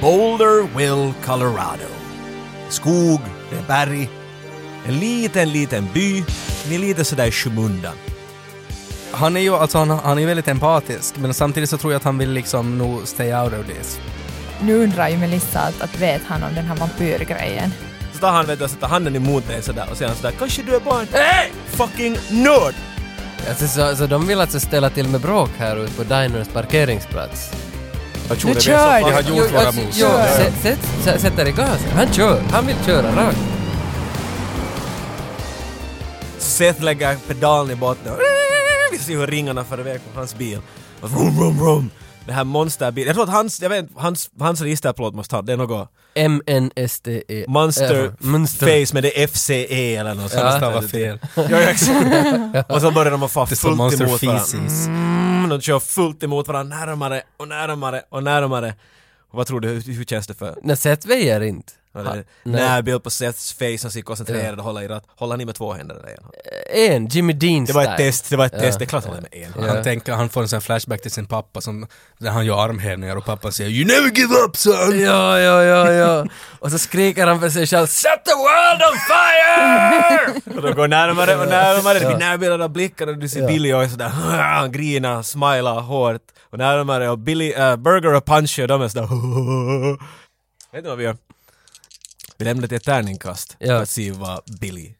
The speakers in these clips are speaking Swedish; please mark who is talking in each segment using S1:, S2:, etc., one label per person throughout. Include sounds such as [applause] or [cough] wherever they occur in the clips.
S1: Boulderville, Colorado. Skog, det är berg. En liten, liten by. Vi är lite sådär i skymundan.
S2: Han är ju alltså, han, han är ju väldigt empatisk, men samtidigt så tror jag att han vill liksom nog stay out of this.
S3: Nu undrar ju Melissa att, att vet han om den här vampyrgrejen?
S1: Så tar han, vet du, och sätter handen emot dig sådär och säger han sådär “Kanske du är bara en hey! fucking nörd!”
S4: Alltså, så, så de vill alltså ställa till med bråk här ute på Diners parkeringsplats?
S5: Jag tror
S3: Nu
S5: det
S3: kör
S5: är
S3: du!
S5: Vi har gjort
S3: Jo,
S5: våra
S3: alltså,
S5: moves.
S4: Jo,
S3: Ja, ja.
S4: sätt, sätt, sä- sätter i gasen. Han kör. Han vill köra rakt.
S1: Seth lägger pedalen i botten. Vi ser hur ringarna far iväg på hans bil. Och Vroom, vroom, vroom. Det här monsterbilen. Jag tror att hans, jag vet inte, hans, hans registerplåt måste ha, det är något
S4: M-N-S-T-E.
S1: monster,
S4: Ja, E. Äh, Monster.
S1: face men det är FCE eller något sånt.
S2: Han stavar fel.
S1: Ja, exakt. [laughs] och så börjar de att fara
S2: Det står
S1: fullt
S2: Monster
S1: emot varandra.
S2: Feces.
S1: Mm, de kör fullt emot varandra, närmare och närmare och närmare. Och vad tror du, hur, hur känns det för?
S4: Nej, Seth väjer inte.
S1: Ja,
S4: nej.
S1: Närbild på Seths face, han ser koncentrerad och håller i ratt. Håller han i med två händer eller en hand?
S4: En, Jimmy Dean
S1: Det var ett
S4: style.
S1: test, det var ett
S4: Ja.
S1: test. Det är klart han håller med en hand.
S4: Ja.
S2: Han, tänker, han får en sån flashback till sin pappa som, där han gör armhävningar och pappa säger “You never give up son!”
S4: Ja, ja, ja, ja. Och så skriker han för sig själv “Set the world on
S5: [laughs]
S4: fire!”
S1: Och de går närmare och närmare, det blir närmare av blickar och du ser
S4: Ja.
S1: Billy och är sådär [laughs] han grinar, smilar hårt och närmare och Billy, äh, Burger och Punchy de är sådär [laughs] Vet du vad vi gör? Vi lämnar till ett tärningkast
S4: Ja.
S1: för att se vad Billy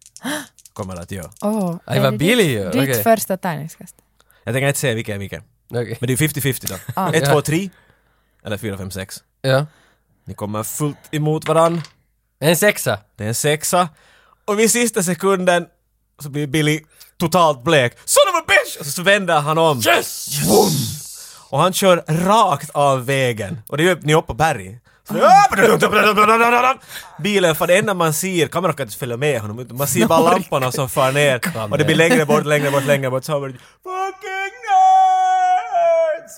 S1: kommer att göra.
S3: Åh,
S4: Aj, vad
S3: är det
S4: billig
S3: ditt-
S4: ju.
S3: Ditt
S4: Okej.
S3: första tärningskast.
S1: Jag tänker inte säga vilka är vilka.
S4: Okej.
S1: Men det är 50-50 då.
S3: Ah.
S1: 1,
S4: Ja.
S1: 2, 3 eller 4, 5, 6.
S4: Ja.
S1: Ni kommer fullt emot varann.
S4: En sexa.
S1: Det är en sexa. Och vid sista sekunden så blir Billy totalt blek. Son of a bitch! Och så vänder han om. Yes! Vroom! Och han kör rakt av vägen. Och det är ju ni är uppe på berg. Så- Bilen, för det enda man ser, kameran kan inte följa med honom, utan man ser bara lamporna som far ner och det blir längre bort, längre bort, längre bort. Så har vi Fucking nerds!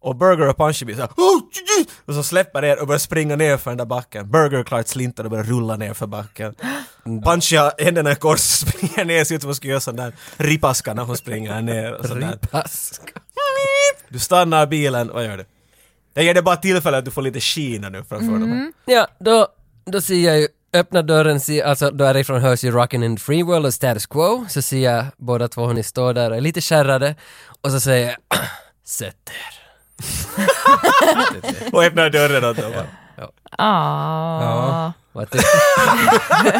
S1: Och Burger och Punchy blir såhär "Oh, tju, tju!" och så släpper er och börjar springa ner för den där backen. Burger klart slintar och börjar rulla ner för backen. Punchy har händerna i kors [laughs] springer ner, ser ut som hon skulle göra sån där ripaska när hon springer ner. Och sån där.
S4: Paska.
S1: Du stannar bilen, vad gör du? Jag ger dig bara tillfälle att du får lite skina nu framför dem.
S4: Ja, då, då ser jag ju, öppnar dörren, ser, alltså därifrån hörs ju Rockin' in the Free World och Status Quo, så ser jag båda två hur ni står där och är lite kärrade, och så säger jag [clears throat] “Sätt er”.
S1: Och öppnar dörren åt dem.
S3: [laughs] Ah.
S4: Vad tyck-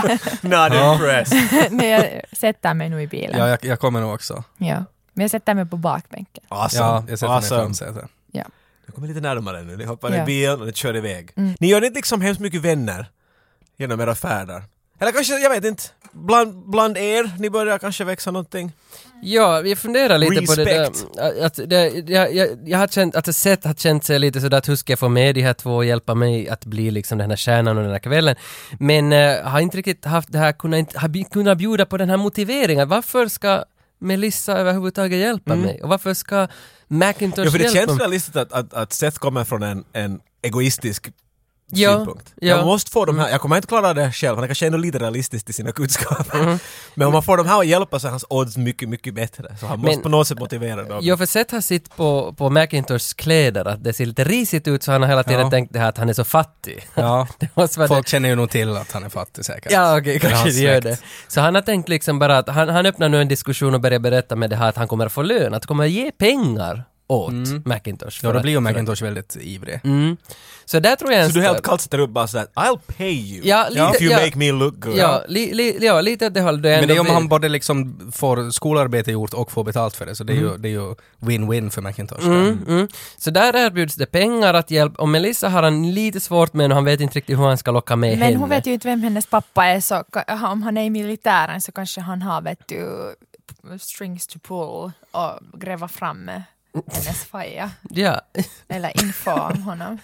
S1: Not impressed.
S3: Nej, jag sätter mig nog i bilen.
S2: Ja, jag, jag kommer nog också.
S3: Ja. Men jag sätter mig på bakbänken.
S2: Ja,
S1: Awesome.
S2: jag sätter mig i
S1: awesome.
S2: framsätet.
S1: Du kommer lite närmare nu, ni hoppar i
S3: Ja.
S1: bilen och ni kör iväg. Ni gör inte liksom hemskt mycket vänner genom era färder. Eller kanske, jag vet inte, bland, bland er, ni börjar kanske växa någonting.
S4: Ja, vi funderar lite på det
S1: Respect.
S4: där. Att det, jag, jag, jag har känt, alltså Seth har känt sig lite sådär att hur ska jag få med de här två och hjälpa mig att bli liksom den här stjärnan och den här kvällen. Men eh, har inte riktigt haft det här, kunnat, inte- har bj- kunnat bjuda på den här motiveringen. Varför ska Melissa överhuvudtaget hjälpa mig? Och varför ska Macintosh
S1: Mm. Ja, för det
S4: hjälpa
S1: känns
S4: mig?
S1: realistiskt att, att, att Seth kommer från en, en egoistisk
S4: Ja,
S1: synpunkt.
S4: ja. Mm.
S1: Jag måste få de här, jag kommer inte klara det själv, han är kanske ändå lite realistisk i sina kunskaper.
S4: Mm.
S1: Men om man får de här att hjälpa så är hans odds mycket, mycket bättre. Så han måste
S4: Men-
S1: på något sätt motivera dem.
S4: Ja, för Seth har sitt på, på Macintoshs kläder att det ser lite risigt ut så han har hela tiden
S2: Ja.
S4: tänkt det här att han är så fattig. [laughs]
S2: Ja,
S4: det måste vara det.
S2: folk känner ju nog till att han är fattig säkert.
S4: Ja, okej,
S2: Eller
S4: kanske
S2: hans
S4: det gör det.
S2: släkt.
S4: Så han har tänkt liksom bara att han, han öppnar nu en diskussion och börjar berätta med det här att han kommer att få lön, att han kommer att ge pengar åt Macintosh.
S2: Ja,
S4: för
S2: då
S4: att-
S2: blir ju
S4: för att-
S2: Macintosh väldigt ivrig.
S4: Mm. Så där tror jag en
S1: Så du helt
S4: större-
S1: kallt sätter upp bara sådär “I'll pay you
S4: Ja, lite-
S1: if you
S4: ja.
S1: make me look good”.
S4: Ja, li, li, ja, lite åt det hållet.
S2: Men det är om han både liksom får skolarbete gjort och får betalt för det, så det är ju, det är ju win-win för Macintosh.
S4: Mm, mm. Så där erbjuds det pengar att hjälpa, och Melissa har han lite svårt med och han vet inte riktigt hur han ska locka med henne.
S3: Men hon vet ju inte vem hennes pappa är så ka- aha, om han är i militären så kanske han har vet du strings to pull och gräva fram eh, hennes faja.
S4: Ja.
S3: Eller info om honom.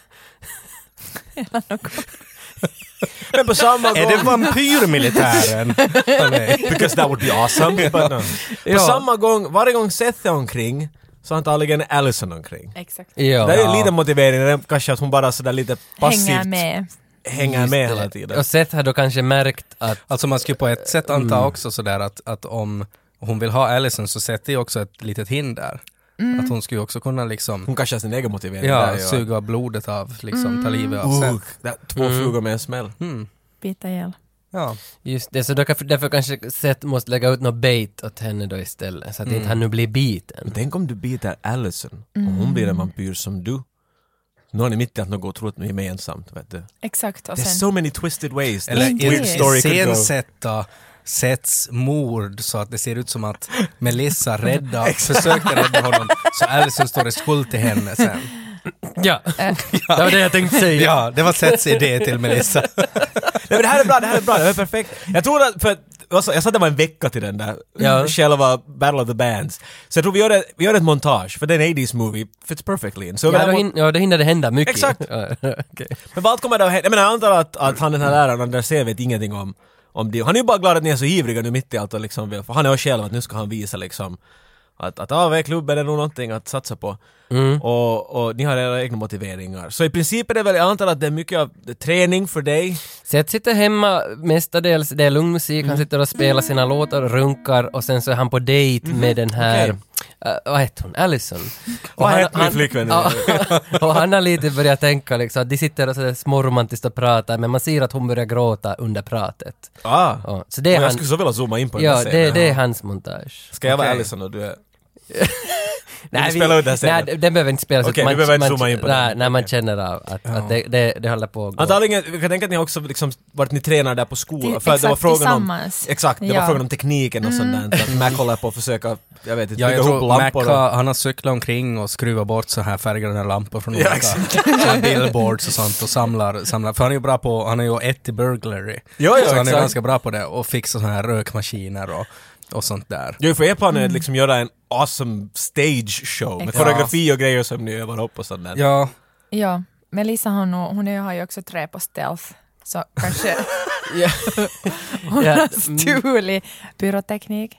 S1: Men på samma gång...
S2: Är det vampyrmilitären? Åh, Alltså- [laughs] nej.
S1: Because that would be [laughs] awesome. But no. På
S4: Ja.
S1: samma gång, varje gång Seth är omkring så antagligen är Allison omkring.
S3: Exakt.
S4: ja.
S1: Det är ju lite motivering, det är kanske att hon bara sådär lite passivt
S3: Hänger med.
S1: hänger med hela tiden.
S4: Och Seth har då kanske märkt att
S2: Alltså man skulle på ett Mm. sätt anta också sådär att, att om hon vill ha Allison så sätter ju också ett litet hinder. Att hon skulle ju också kunna liksom,
S1: Hon kanske har sin egen motivering
S2: ja,
S1: där.
S2: suga blodet av, liksom ta livet av
S1: Uh,
S2: sig.
S1: där, två
S4: Mm.
S1: flugor med en smäll.
S2: Mm.
S3: Bita ihjäl.
S2: Ja.
S4: Just det, så då kan, därför kanske Seth måste lägga ut något bait åt henne då istället, så att inte han nu blir biten.
S1: Men tänk om du biter Allison och
S3: Mm.
S1: hon blir en vampyr som du. Nu har ni mitt i att något går troligt gemensamt, vet du.
S3: Exakt. Och
S1: There's
S3: sen,
S1: so many twisted ways
S2: Eller
S1: this weird
S3: Precis.
S1: story could go.
S2: iscensätta Seths mord så att det ser ut som att Melissa [laughs] rädda, försökte rädda honom så Alison står i skuld till henne sen.
S4: [laughs] Ja, det var det jag tänkte säga.
S2: Ja, det var Seths idé till Melissa.
S1: Nej men det här är bra, det här är bra, det här är perfekt. Jag tror att, för att, alltså, jag sa att det var en vecka till den där
S4: Ja.
S1: själva Battle of the Bands. Så jag tror vi gör, det, vi gör ett montage, för den 80s movie fits perfectly in. Så
S4: Ja,
S1: men-
S4: då, hin- ja, då hinner det hända mycket.
S1: Exakt.
S4: Ja, okej.
S1: Men vad kommer det att hända? Jag menar jag antar att, att han den här läraren, Anders C, vet ingenting om, om det. Han är ju bara glad att ni är så ivriga nu mitt i allt och liksom vill, för han är ju själv att nu ska han visa liksom att, att ah, vad är klubben är nog någonting att satsa på.
S4: Mm.
S1: Och, och ni har era egna motiveringar. Så i princip är det väl, jag antar att det är mycket av det är träning för dig.
S4: Seth sitter hemma mestadels, det är lugn musik, han
S1: Mm.
S4: sitter och spelar sina låtar, runkar och sen så är han på dejt med den här,
S1: Mm-hmm. Okej.
S4: eh, vad heter hon, Allison?
S1: Vad heter min flickvän nu?
S4: Ja, [laughs] och han har lite börjat tänka liksom, att de sitter och sådär småromantiskt och pratar men man ser att hon börjar gråta under pratet.
S1: Ah. Och
S4: Ja, så det är
S1: jag
S4: han,
S1: skulle så vilja zooma in på den
S4: ja,
S1: här scenen.
S4: det, det är hans montage.
S1: Ska jag vara
S2: Okej.
S1: Allison och du är...
S4: Nej,
S1: vi spelar ut den
S4: nej,
S1: scenen.
S4: den behöver inte spelas
S1: Okej,
S4: ut.
S1: vi behöver inte zooma in på den.
S4: nej, nej, man känner av att, att det, det, det håller på att gå.
S1: Antagligen, jag kan tänka att ni också liksom varit ni tränar där på skolan.
S3: Till-
S1: För att det var
S3: exakt,
S1: frågan om,
S3: tillsammans.
S1: exakt, det var
S3: Ja. Mm.
S1: frågan om tekniken och sånt där. Så Att Mac håller på att försöka, jag vet inte,
S2: Ja,
S1: bygga
S2: jag
S1: ihop
S2: tror Mac
S1: lampor. och-
S2: har, han har cyklat omkring och skruvat bort så här färggranna lampor från
S1: Ja,
S2: olika
S1: exakt.
S2: [laughs] så här billboards och sånt och samlar, samlar. För han är ju bra på, han är ju ett i burglary.
S1: Ja, ja,
S2: så han är
S1: exakt.
S2: ju ganska bra på det och fixar så här rökmaskiner och, och sånt där.
S1: Jo, för er plan är att liksom göra en awesome stage show med
S3: Mm. Exakt.
S1: koreografi och grejer som ni övar upp och sånt där.
S2: Ja,
S3: ja, Melissa har, nog, hon är- har ju också trä på stealth. Så kanske
S2: [laughs]
S3: [laughs] hon
S4: Ja,
S3: har stulit pyroteknik.
S2: mm.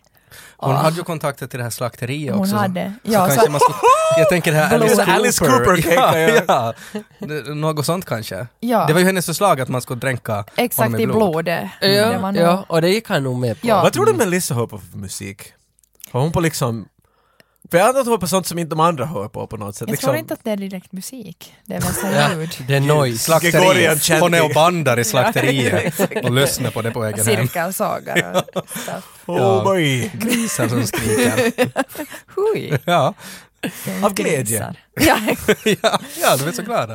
S2: Hon
S3: Ah.
S2: hade ju kontakter till det här slakteriet
S3: Hon
S2: också.
S3: hade.
S2: Så
S3: Ja,
S2: kanske
S3: så-
S2: man skulle, jag tänker det
S3: [laughs]
S2: här
S1: Blå-
S2: Alice Cooper.
S1: Alice Cooper kan
S2: ja,
S1: jag göra.
S2: ja. Det- Något sånt kanske.
S3: Ja.
S2: Det var ju hennes förslag att man skulle dränka
S3: Exakt
S2: honom
S3: i
S2: i blod.
S3: blodet. Det
S4: Ja,
S3: var nog-
S4: ja, och det gick han nog med på.
S3: Ja.
S1: Vad tror du Melissa hör på för musik? Har hon på liksom... För jag antar att hon hör på sånt som inte de andra hör på på något sätt.
S3: Jag
S1: liksom,
S3: tror inte att det är direkt musik. Det är väl så
S4: Ja,
S3: ljud.
S4: det är noise.
S1: Gregorian
S2: Slakteriet.
S1: Chanting.
S2: Hon är och
S3: [laughs]
S2: bandar i slakteriet och lyssnar på det på vägen hem.
S3: Cirkelsagar och stuff.
S1: Oh boy!
S2: Grisar som skriker. [laughs]
S3: Hui.
S2: Ja,
S1: Av glädje.
S3: Grisar. Ja, [laughs]
S2: ja, ja de är så glada.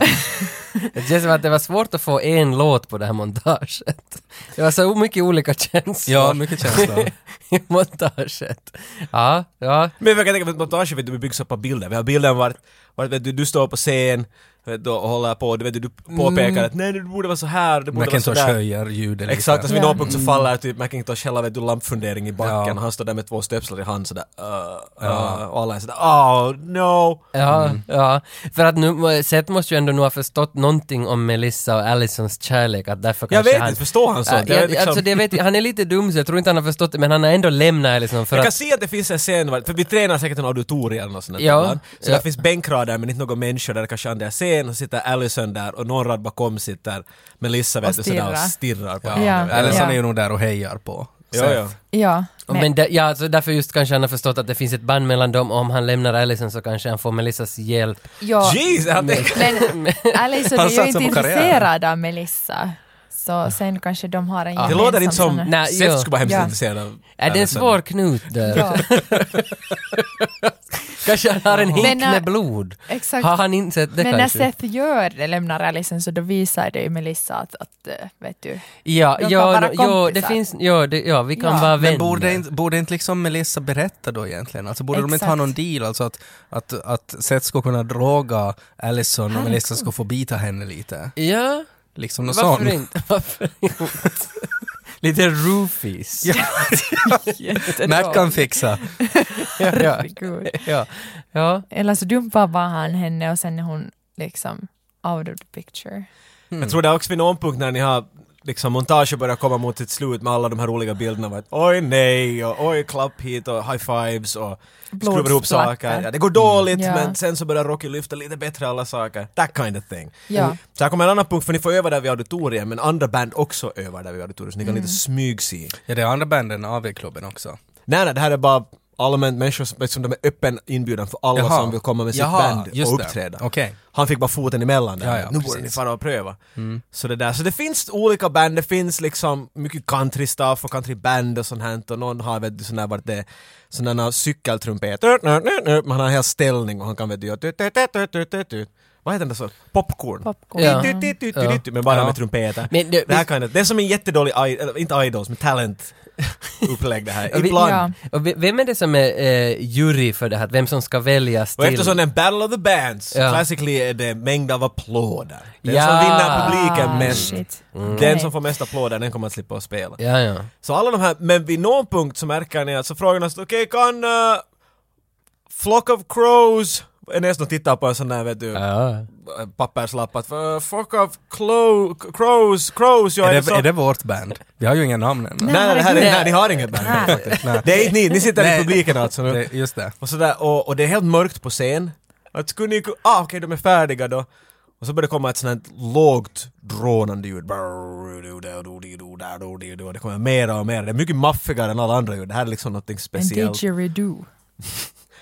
S4: Det känns som att det var svårt att få en låt på det här montaget. Det var så mycket olika känslor
S2: Ja, mycket [laughs] känslor.
S4: [laughs] i montaget. Ja, ja.
S1: Men jag kan tänka mig att montaget vet du, byggs upp av bilder. Vi har bilden vart, vart vet du, du står på scen vet du, och håller på, du, vet du, du påpekar att nej det borde vara så här, det borde vara
S2: Mm. Macintosh
S1: så där.
S2: höjer ljudet lite.
S1: Exakt, och så vid
S3: Ja.
S1: någon punkt så faller typ Macintosh hela vet du, lampfundering i backen
S2: Ja.
S1: och han står där med två stöpslar i hand sådär uh, uh, och alla är sådär oh no.
S4: Ja,
S1: Mm.
S4: ja. För att nu, må- Seth måste ju ändå nu ha förstått någonting om Melissa och Allisons kärlek, att därför
S1: Jag
S4: kanske
S1: vet
S4: han...
S1: inte, förstår han sånt?
S4: Ja,
S1: Jag
S4: jag,
S1: är liksom-
S4: alltså, det vet, jag- han är lite dum så jag tror inte han har förstått det, men han har ändå lämnat Allison för
S1: Jag kan
S4: att...
S1: se att det finns en scen, var- för vi tränar säkert en auditorium eller något sånt där
S4: Ja,
S1: ibland. Så
S4: ja.
S1: där finns bänkrader men inte några människor där det kanske andra är scen och så sitter Allison där och någon rad bakom sitter Melissa vet
S3: Och
S1: du sådär och
S3: stirrar.
S1: stirrar på
S2: Ja.
S1: henne.
S3: Ja.
S2: Eller så
S3: Ja.
S2: är ju nog där och hejar på.
S1: Jo, jo.
S3: ja.
S4: Men,
S3: Men,
S4: där- ja, alltså, därför just kanske han har förstått att det finns ett band mellan dem och om han lämnar Allison så kanske han får Melissas hjälp.
S3: ja.
S1: Jeez, han tänker...
S2: [laughs]
S3: Men Alison
S2: Han
S3: är ju
S2: satsar
S3: inte
S2: på karriären.
S3: intresserad av Melissa. Så sen kanske de har en
S1: Det
S3: gemensam...
S1: låter inte som...
S3: sån här-
S4: Nej, jo.
S1: Seth skulle vara hemskt
S3: Ja.
S1: intresserad av
S4: Är det en
S1: Allison.
S4: svår knut där?
S3: Ja,
S4: [laughs] Kanske han har en hink
S3: Men när-
S4: med blod?
S3: exakt.
S4: Har han insett det
S3: Men när
S4: kanske?
S3: Seth gör det, lämnar Alison, så då visar det ju Melissa att, att eh, vet
S4: [laughs]
S3: du,
S4: Ja,
S3: De kan
S4: ja,
S3: vara
S4: no, ja, det
S3: kompisar.
S4: finns, ja, det, ja vi kan
S3: Ja.
S4: vara vänner.
S2: Men borde inte, borde inte liksom Melissa berätta då egentligen? Alltså borde de inte
S3: Exakt.
S2: ha någon deal? Alltså att, att, att Seth skulle kunna droga Allison och Melissa skulle få bita henne lite?
S4: Ja,
S2: Liksom något sånt.
S4: varför inte? [laughs] Varför inte? Lite roofies. Ja,
S2: Mac kan
S3: [laughs]
S2: fixa.
S4: ja,
S3: herregud.
S4: ja, ja.
S3: Eller så dumpar bara han henne och sen är hon liksom out of the picture.
S1: Jag tror det är också vid någon punkt när ni har liksom montaget börjar komma mot sitt slut med alla de här olika bilderna av att oj nej och oj klapp hit och high fives och skruvar ihop
S3: Blodsplatter.
S1: saker. Ja, det går dåligt
S3: Ja.
S1: men sen så börjar Rocky lyfta lite bättre alla saker. That kind of thing. Mm.
S3: Ja.
S4: Mm.
S1: Så här kommer en annan punkt för ni får öva där vid auditoriet men andra band också
S3: Mm.
S1: övar där vid auditoriet så ni kan lite smygse.
S2: Ja, det är andra banden av i klubben också.
S1: Nej nej det här är bara allmänt människor som liksom, de är öppen inbjudan för alla
S2: Jaha.
S1: som vill komma med sitt
S2: Jaha,
S1: band
S2: just
S1: och
S2: det.
S1: uppträda.
S2: Okej.
S1: Han fick bara foten emellan där.
S2: Ja, ja,
S1: nu borde
S2: precis. Mm.
S1: ni fara och pröva. Så det där, så det finns olika band, det finns liksom mycket country stuff och countryband och sånt här och någon har vet du sån där vart det är sådana cykeltrumpeter, men han har en hel ställning och han kan vet du göra tut, tut, tut, tut, tut, tut, tut. vad heter det så? Popcorn.
S3: Popcorn. Mm.
S4: Ja.
S1: Tut, tut, tut, tut, tut, Men bara
S4: Ja.
S1: med trumpeter.
S4: Men det-
S1: det, här kan, det är som en jättedålig, i- eller inte idols, men talent-upplägg det här.
S4: vi-
S1: Ibland.
S3: Ja.
S4: Och ve- vem är det som är eh, jury för det här? Vem som ska väljas
S1: Och
S4: till?
S1: eftersom det är en battle of the bands,
S4: Ja.
S1: classically är det mängd av applåder. Den
S4: Ja.
S1: som vinner publiken
S3: Ah,
S1: mest,
S3: shit.
S1: den
S4: Mm.
S3: Okej.
S1: som får mest applåder, den kommer att slippa att spela.
S4: Ja, ja.
S1: Så alla de här, men vid någon punkt så märker ni att så frågan är så, okej kan eh, Flock of Crows, är nästan tittar på en sån där vet du,
S4: ja.
S1: papperslapp att uh, Flock of clo- Crows, Crows, jag
S2: Är
S1: är,
S2: det,
S1: så...
S2: är det vårt band? Vi har ju inga namn ännu.
S1: Nej, nej, det här är, nej, ni har inget band.
S3: Nej.
S2: Nej.
S1: Det är inte ni, ni sitter
S2: Nej.
S1: i publiken alltså nu.
S2: Det, just det.
S1: Och, sådär, och, och det är helt mörkt på scen. Att skulle ni ku- ah okej de är färdiga då. Och så börjar det komma ett sånt här lågt drånande ljud. Det kommer mera och mera. Det är mycket maffigare än alla andra ljud. Det här är liksom något
S3: En
S1: speciellt.
S3: didgeridoo.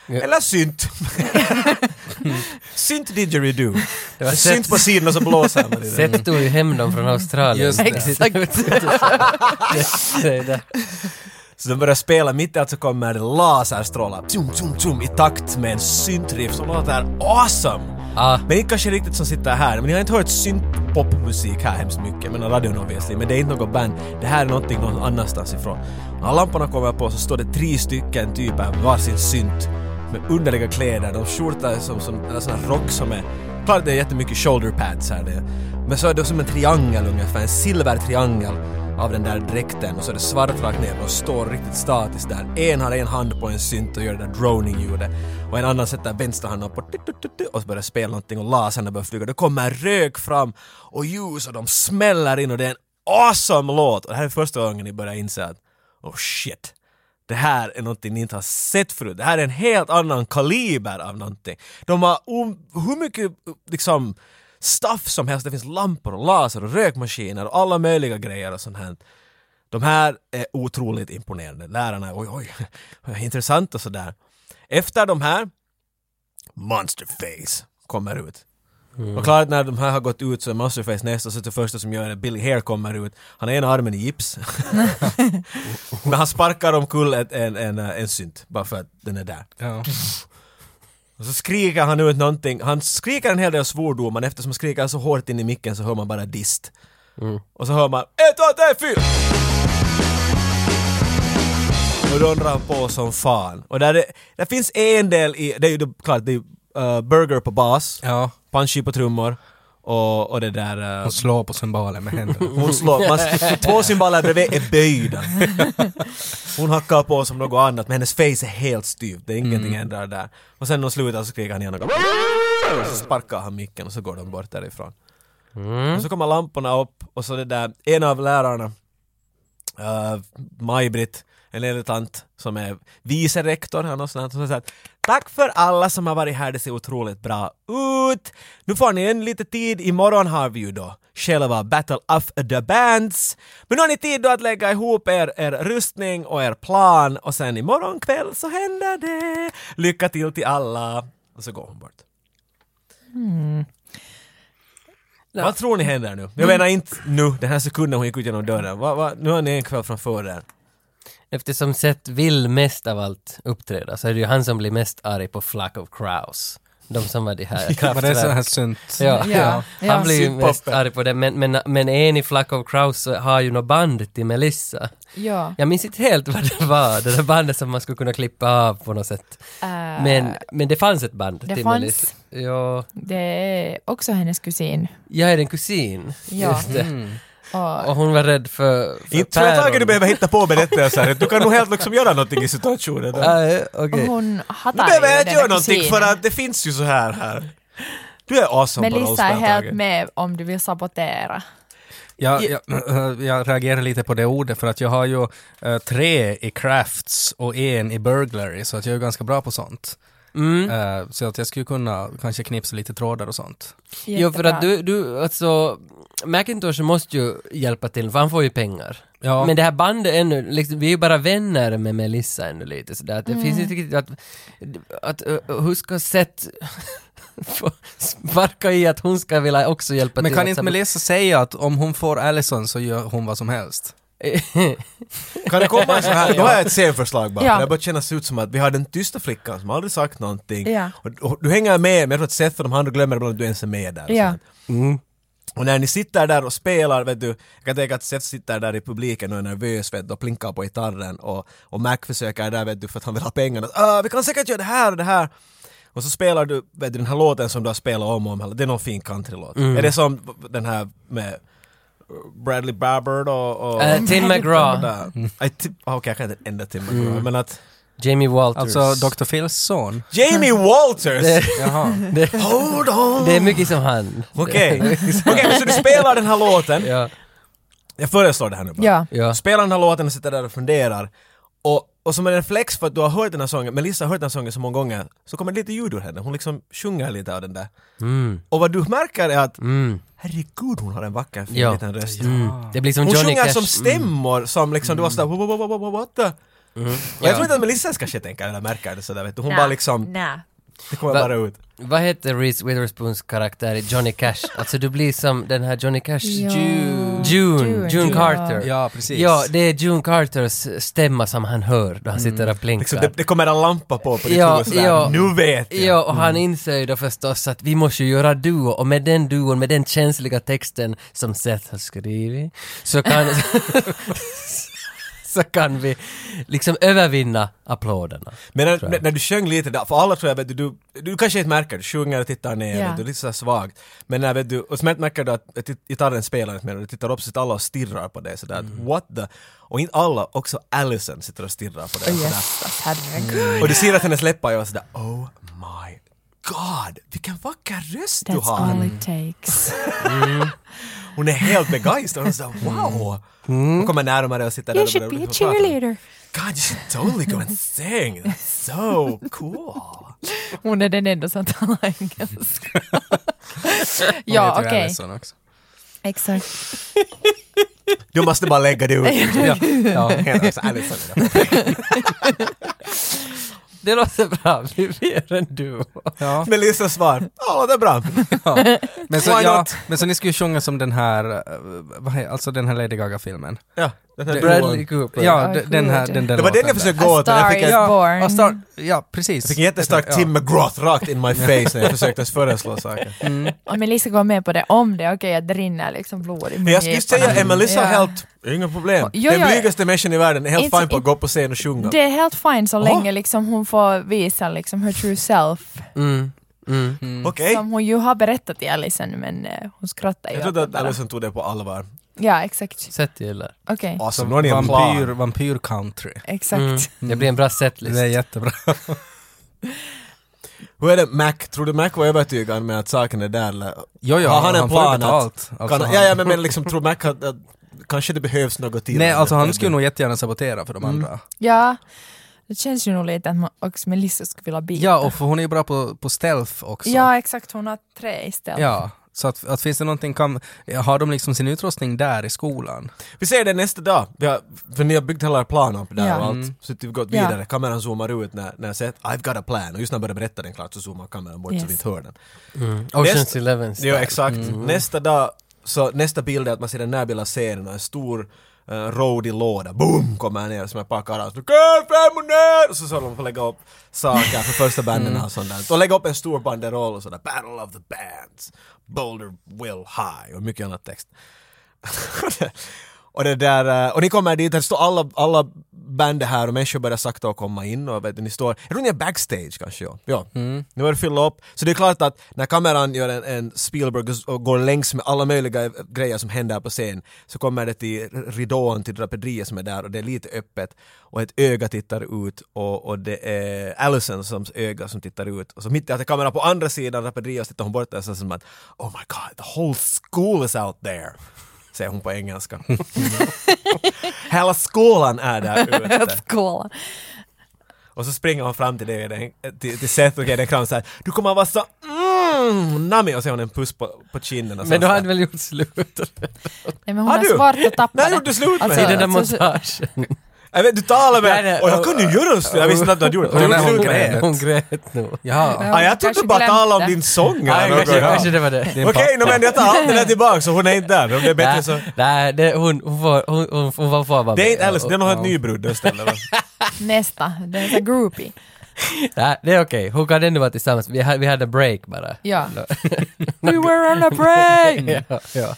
S1: Eller synt. synt didgeridoo. Det
S4: var
S1: är synt
S4: Seth-
S1: på sidan och så blåser man i den.
S4: Seth tog ju hem dem från Australien.
S2: Just det.
S4: Exakt.
S2: [laughs]
S4: Det är det.
S1: Så de börjar spela, mitt i allt så kommer det laserstrålar tjum, tjum, tjum, i takt med en syntriff som låter awesome.
S4: Ah.
S1: Men inte kanske riktigt som sitter här, men jag har inte hört syntpopmusik här hemskt mycket, men radion obviously, men det är inte något band. Det här är någonting någon annanstans ifrån. När lamporna kommer på så står det tre stycken typer med varsin synt med underliga kläder, de skjortar är som, som eller sån här rock som är Klart det är jättemycket shoulder pads här det. Men så är det som en triangel ungefär, en silvertriangel av den där dräkten och så är det svart rakt ner och står riktigt statiskt där. En har en hand på en synt och gör det där droning-ljudet och en annan sätter vänster handen på tut, tut, tut, tut, och så börjar spela någonting och lasern börjar flyga. Det kommer rök fram och ljus och de smäller in och det är en awesome låt! Och det här är första gången ni börjar inse att oh shit, det här är någonting ni inte har sett förut. Det här är en helt annan kaliber av någonting. De har om, hur mycket liksom stuff som helst. Det finns lampor och laser och rökmaskiner och alla möjliga grejer och sånt här. De här är otroligt imponerande. Lärarna, oj [laughs] oj, intressant och sådär. Efter de här, Monsterface kommer ut. Och klart när de här har gått ut så är Monsterface nästa, så det första som gör är Billy Hare kommer ut. Han har ena armen i gips. Men han sparkar omkull ett- en, en, eh, en synt, bara för att den är där.
S2: Ja.
S1: Och så skriker han ut någonting, han skriker en hel del svordomar, men eftersom han skriker så hårt in i micken så hör man bara dist. Och så hör man ett, två, tre, fyra! Och då undrar han på som fan. Och där, är- där finns en del i, det är ju då, klart, det är ju, eh, Burger på bas,
S2: ja.
S1: Punchy på trummor och, och det där... eh,
S2: Och slå på cymbalen med [laughs] händerna.
S1: hon slår, man, två symboler bredvid är böjda. Hon hackar på som något annat men hennes face är helt styvt, det är ingenting ändrar där. Och sen när hon slutar så skriker han igen och går- så sparkar han micken och så går de bort därifrån.
S4: mm.
S1: Och så kommer lamporna upp och så det där, en av lärarna, eh, Maj-Britt, en äldre tant som är vice rektor här någonstans, som säger att Tack för alla som har varit här, det ser otroligt bra ut. Nu får ni en lite tid, imorgon har vi ju då själva Battle of the Bands. Men nu har ni tid då att lägga ihop er, er rustning och er plan och sen imorgon kväll så händer det. Lycka till till alla. Och så går hon bort.
S3: Mm.
S1: Vad tror ni händer nu? Jag menar inte nu, den här sekunden hon gick ut genom dörren. Va, va, nu har ni en kväll framför er.
S4: Eftersom Seth vill mest av allt uppträda så är det ju han som blir mest arg på Flock of Crows. De som var de
S2: [laughs]
S4: här
S2: Var det sån här
S4: kraftverk.
S2: synt?
S4: Ja,
S3: Ja, ja.
S4: han blir ju
S1: Syntpoppen.
S4: mest arg på det. Men, men, men en i Flock of Crows så har ju något band till Melissa.
S3: Ja.
S4: Jag minns inte helt vad det var, det där bandet som man skulle kunna klippa av på något sätt.
S3: Äh,
S4: Men, men det fanns ett band
S3: Det
S4: till
S3: fanns.
S4: Melissa. Ja,
S3: Det är också hennes kusin.
S4: jag är en kusin.
S3: Ja.
S4: Just det.
S3: Och,
S4: Och hon var rädd för, för
S1: Inte tror jag taget
S4: päron.
S1: du behöver hitta på berättelser. Du kan nog helt liksom göra någonting i situationen.
S4: Ah, okej.
S3: och hon hatar
S1: Nu behöver jag
S3: ju
S1: inte
S3: den
S1: göra
S3: här
S1: någonting för
S3: kusinen.
S1: att det finns ju så här här. Du är awesome på
S3: Melissa är
S1: rollspel,
S3: helt
S1: Tage.
S3: med om du vill sabotera.
S2: Jag, jag, eh, jag reagerar lite på det ordet för att jag har ju eh, tre i crafts och en i burglary så att jag är ganska bra på sånt.
S4: Mm.
S2: Eh, så att jag skulle kunna kanske knipsa lite trådar och sånt.
S4: Jo, för
S3: Jättebra.
S4: att du, du alltså, Macintosh måste ju hjälpa till för han får ju pengar.
S2: Ja.
S4: Men det här bandet ännu, liksom, vi är ju bara vänner med Melissa ännu lite sådär. att Det finns inte riktigt att, att ö, ö, hur ska Seth [laughs] få sparka i att hon ska vilja också hjälpa
S2: Men
S4: till?
S2: kan
S4: att
S2: inte
S4: sam-
S2: Melissa säga att om hon får Allison så gör hon vad som helst?
S1: Kan det komma en sån
S3: [laughs]
S1: här, då har jag ett scenförslag bara.
S3: Ja.
S1: Ja. Det börjar kännas ut som att vi har den tysta flickan som aldrig sagt någonting.
S3: Ja.
S1: Och, och du hänger med, men jag tror att Seth och de andra glömmer ibland att du ens är med där. och
S3: Alltså, Ja.
S1: sånt. Och när ni sitter där och spelar, vet du, jag kan tänka att Seth sitter där i publiken och är nervös vet du, och plinkar på gitarren och, och Mac försöker där vet du, för att han vill ha pengarna. Ah, vi kan säkert göra det här och det här. Och så spelar du vet du, den här låten som du har spelat om och om, det är någon fin countrylåt.
S4: Mm.
S1: Är det som den här med Bradley Babbard och... och
S4: Eh, Tim McGraw,
S1: där. I tip- ah, Okej, jag kan inte ända Tim McGraw,
S4: Mm.
S1: men att...
S4: Jamie Walters.
S2: Alltså Dr. Phils son?
S1: Jamie
S4: [laughs] det,
S1: Walters!
S2: Jaha.
S4: det,
S1: Hold on!
S4: det är mycket som han.
S1: Okej, Okej, så du spelar den här låten.
S4: [laughs] Ja,
S1: Jag föreslår det här nu bara.
S3: Ja.
S4: ja.
S1: Spelar den här låten och sitter där och funderar. Och, och som en reflex för att du har hört den här sången, Melissa har hört den här sången så många gånger, så kommer det lite ljud ur henne. Hon liksom sjunger lite av den där.
S4: Mm,
S1: Och vad du märker är att,
S4: mm,
S1: herregud hon har en vacker fin
S4: Ja.
S1: liten röst.
S4: mm. Det blir som
S1: Hon
S4: Johnny
S1: sjunger
S4: Cash.
S1: som
S4: Mm.
S1: stämmor som liksom, du var sådär "Wo- wo- wo- wo- wo- what the? Och
S4: Ja.
S1: jag tror inte att Melissa kanske tänker eller märker det sådär vet du. Hon
S3: Nä.
S1: bara liksom,
S3: Nä.
S1: det kommer
S4: Va-
S1: bara ut.
S4: Mm. Vad heter Reese Witherspoons karaktär i Johnny Cash? Alltså du blir som den här Johnny Cash...
S3: Ja.
S4: June, June,
S3: June, ja.
S4: Carter.
S2: Ja, precis.
S4: Ja, det är June Carters stämma som han hör då han sitter och blinkar.
S1: Liksom, det, det kommer en lampa på på ditt
S4: Ja,
S1: huvud sådär,
S4: ja.
S1: nu vet jag!
S4: Ja, och han inser ju då förstås att vi måste ju göra duo och med den duon, med den känsliga texten som Seth har skrivit, så kan, [laughs] så kan vi liksom övervinna applåderna.
S1: Men när,
S4: tror jag.
S1: när, när du sjöng lite där, för alla tror jag vet du, du, du kanske inte märker, du sjunger och tittar ner,
S3: Ja.
S1: vet du är lite såhär svagt. Men när vet du, och sen märker du att att gitarren spelar inte mer och du tittar upp så sitter alla och stirrar på dig sådär,
S4: Mm.
S1: what the? Och inte alla, också Allison sitter och stirrar på dig
S3: Oh,
S1: sådär.
S3: Jesus, herregud.
S1: Och du ser att hennes läppar gör sådär oh my god, vilken vacker röst du
S3: That's all
S1: har!
S3: it
S1: [laughs]
S3: takes.
S1: Hon är helt begeistrad, hon är sådär
S4: Mm.
S1: wow! Hon kommer närmare och sitter där
S3: You
S1: och
S3: should
S1: börjar
S3: be a
S1: liksom prata.
S3: cheerleader.
S1: God, you should totally go
S3: [laughs]
S1: and sing! That's so cool!
S3: Hon är den enda som talar
S1: [laughs]
S3: engelska. [laughs]
S2: Hon
S3: ja,
S2: heter ju
S3: okej.
S1: alltså-
S2: Allison också.
S3: Exakt.
S1: Du måste bara lägga det
S3: [laughs]
S1: ut.
S2: Ja,
S1: [laughs]
S2: ja.
S1: Alltså, Allison.
S2: [laughs]
S4: Det låter bra, vi vi gör en duo.
S2: ja.
S1: Melissa svar, ja det är bra.
S2: Men, så,
S1: Why
S2: ja,
S1: not?
S2: men så ni skulle sjunga som den här, eh, vad he, alltså den här Lady Gaga-filmen?
S1: Ja, den här
S2: Det-
S1: Bradley.
S4: Bradley Cooper.
S2: Ja,
S3: Ja,
S2: d- den här,
S3: gud.
S2: den där
S1: Det var den
S2: låten där.
S1: jag försökte gå
S3: A
S1: åt, men jag
S3: star
S1: fick
S3: is
S1: en,
S2: Ja,
S3: born.
S2: ja, star- ja, precis.
S1: jag fick en jättestark
S2: Ja.
S1: Tim McGraw rakt in my face när jag försökte föreslå saker.
S2: Mm.
S3: Om Melissa går med på det, om det är okej att det rinner liksom blod i
S1: Men jag skulle
S3: mungiporna.
S1: säga att Melissa är
S3: Ja.
S1: helt, inga problem.
S3: Jo,
S1: den
S3: jo,
S1: blygaste människan i världen är helt
S3: Inte-
S1: fine på att gå upp på scen och sjunga.
S3: Det är helt fine så
S1: Jaha.
S3: länge liksom hon får visa liksom her true self.
S4: Mm, mm.
S1: Okej?
S3: Som hon ju har berättat till Alison men eh, hon skrattar ju
S1: Jag
S3: åt
S1: trodde
S3: det
S1: att
S3: bara.
S1: Allison tog det på allvar.
S3: Ja, exakt.
S4: Seth gillar.
S3: Okej,
S1: Awesome, nu har ni en
S2: Vampyr,
S1: plan.
S2: vampyr country.
S3: exakt.
S4: Mm. Det blir en bra setlist.
S2: Det är jättebra.
S1: Hur är det Mac? Tror du Mac var övertygad med att saken är där eller?
S2: Jo, jo,
S1: Har han en
S2: får ju
S1: plan att-
S2: betalt. Alltså,
S1: kan,
S2: han,
S1: ja, ja, men, men liksom tror Mac att, att kanske det behövs något till?
S2: nej, alltså han
S1: Mm.
S2: skulle nog jättegärna sabotera för de andra.
S3: Ja, det känns ju nog lite att man också Melissa skulle vilja byta.
S2: Ja, och för hon är ju bra på, på stealth också.
S3: ja, exakt. Hon har tre istället.
S2: Ja, så att, att finns det någonting, kan, har de liksom sin utrustning där i skolan?
S1: Vi ser det nästa dag, vi har, för ni har byggt hela er plan upp där
S3: Ja.
S1: och allt.
S2: Mm.
S1: Så att vi har gått
S3: Ja.
S1: vidare, kameran zoomar ut när, när jag säger att I've got a plan och just när jag börjar berätta den klart så zoomar kameran bort så
S3: Yes.
S1: vi inte hör den.
S4: Mm. Oceans
S1: Nästa-
S4: Eleven
S1: Jo exakt, nästa dag, så nästa bild är att man ser den närbilda scenen och en stor uh, rodig låda, boom, kommer här ner som ett par karlar så "Kom fram och ner! Och så så håller de på att lägga upp saker för
S3: [laughs]
S1: första banden
S3: Mm.
S1: och sånt där. Och lägga upp en stor banderoll och sådär, Battle of the Bands, Boulder Will High och mycket annat text. [laughs] och det där, eh, och ni kommer dit, det står alla, alla band är här och människor börjar sakta att komma in och vet du, ni står, jag tror ni är backstage kanske ja. ja. Nu är det fylla upp. Så det är klart att när kameran gör en, en Spielberg och- och går längs med alla möjliga eh, grejer som händer på scen så kommer det till ridån, till draperiet som är där och det är lite öppet och ett öga tittar ut och, och det är Allison som öga som tittar ut och så mitt i att kameran på andra sidan draperiet och så tittar hon bort där så som att Oh my god, the whole school is out there säger hon på engelska. [laughs] Hela skolan är där ute.
S3: Cool.
S1: Och så springer hon fram till dig, och den- till, till Seth och ger dig en kram såhär Du kommer att vara så mm, mm, Nami och så har hon en puss på, på kinden och
S4: Men då
S1: sånt
S4: hade
S1: där.
S4: väl gjort slut?
S3: Nej men hon
S1: Har
S3: har
S1: du?
S3: svårt att tappa
S1: När
S3: det.
S1: gjorde du slut med
S3: Alltså,
S1: det?
S4: I den där
S3: alltså, så-
S4: montagen.
S1: Jag vet, du talar med
S4: Nej, nej,
S1: Och jag kunde ju göra en slut, jag visste inte att du hade gjort det.
S2: Hon
S1: Har du gjort
S2: är-
S1: slut
S2: hon
S1: med det?
S2: grät.
S4: Hon grät nog.
S2: Ja.
S1: Ja, jag trodde
S3: Kanske
S1: du bara
S3: glömde.
S1: talade om din sång
S4: Ja,
S1: eller något.
S4: kanske, kanske
S1: Ja.
S4: det var det.
S2: Det är en
S1: Okej,
S2: pappa.
S1: no, men jag tar allt det där tillbaka så hon är inte där. Om det är bättre
S4: Nej,
S1: så...
S4: nej det, hon, hon, får, hon, hon, hon var får vara
S1: Det är
S4: med.
S1: inte Alice, det är nog
S2: Ja.
S1: ett nybrud det stället. va?
S3: Nästa. Det är så groupie.
S4: Nej, det är okej. Hon kan ändå vara tillsammans. Vi hade, vi hade break bara.
S3: Ja. We were on a break!
S4: Ja, ja.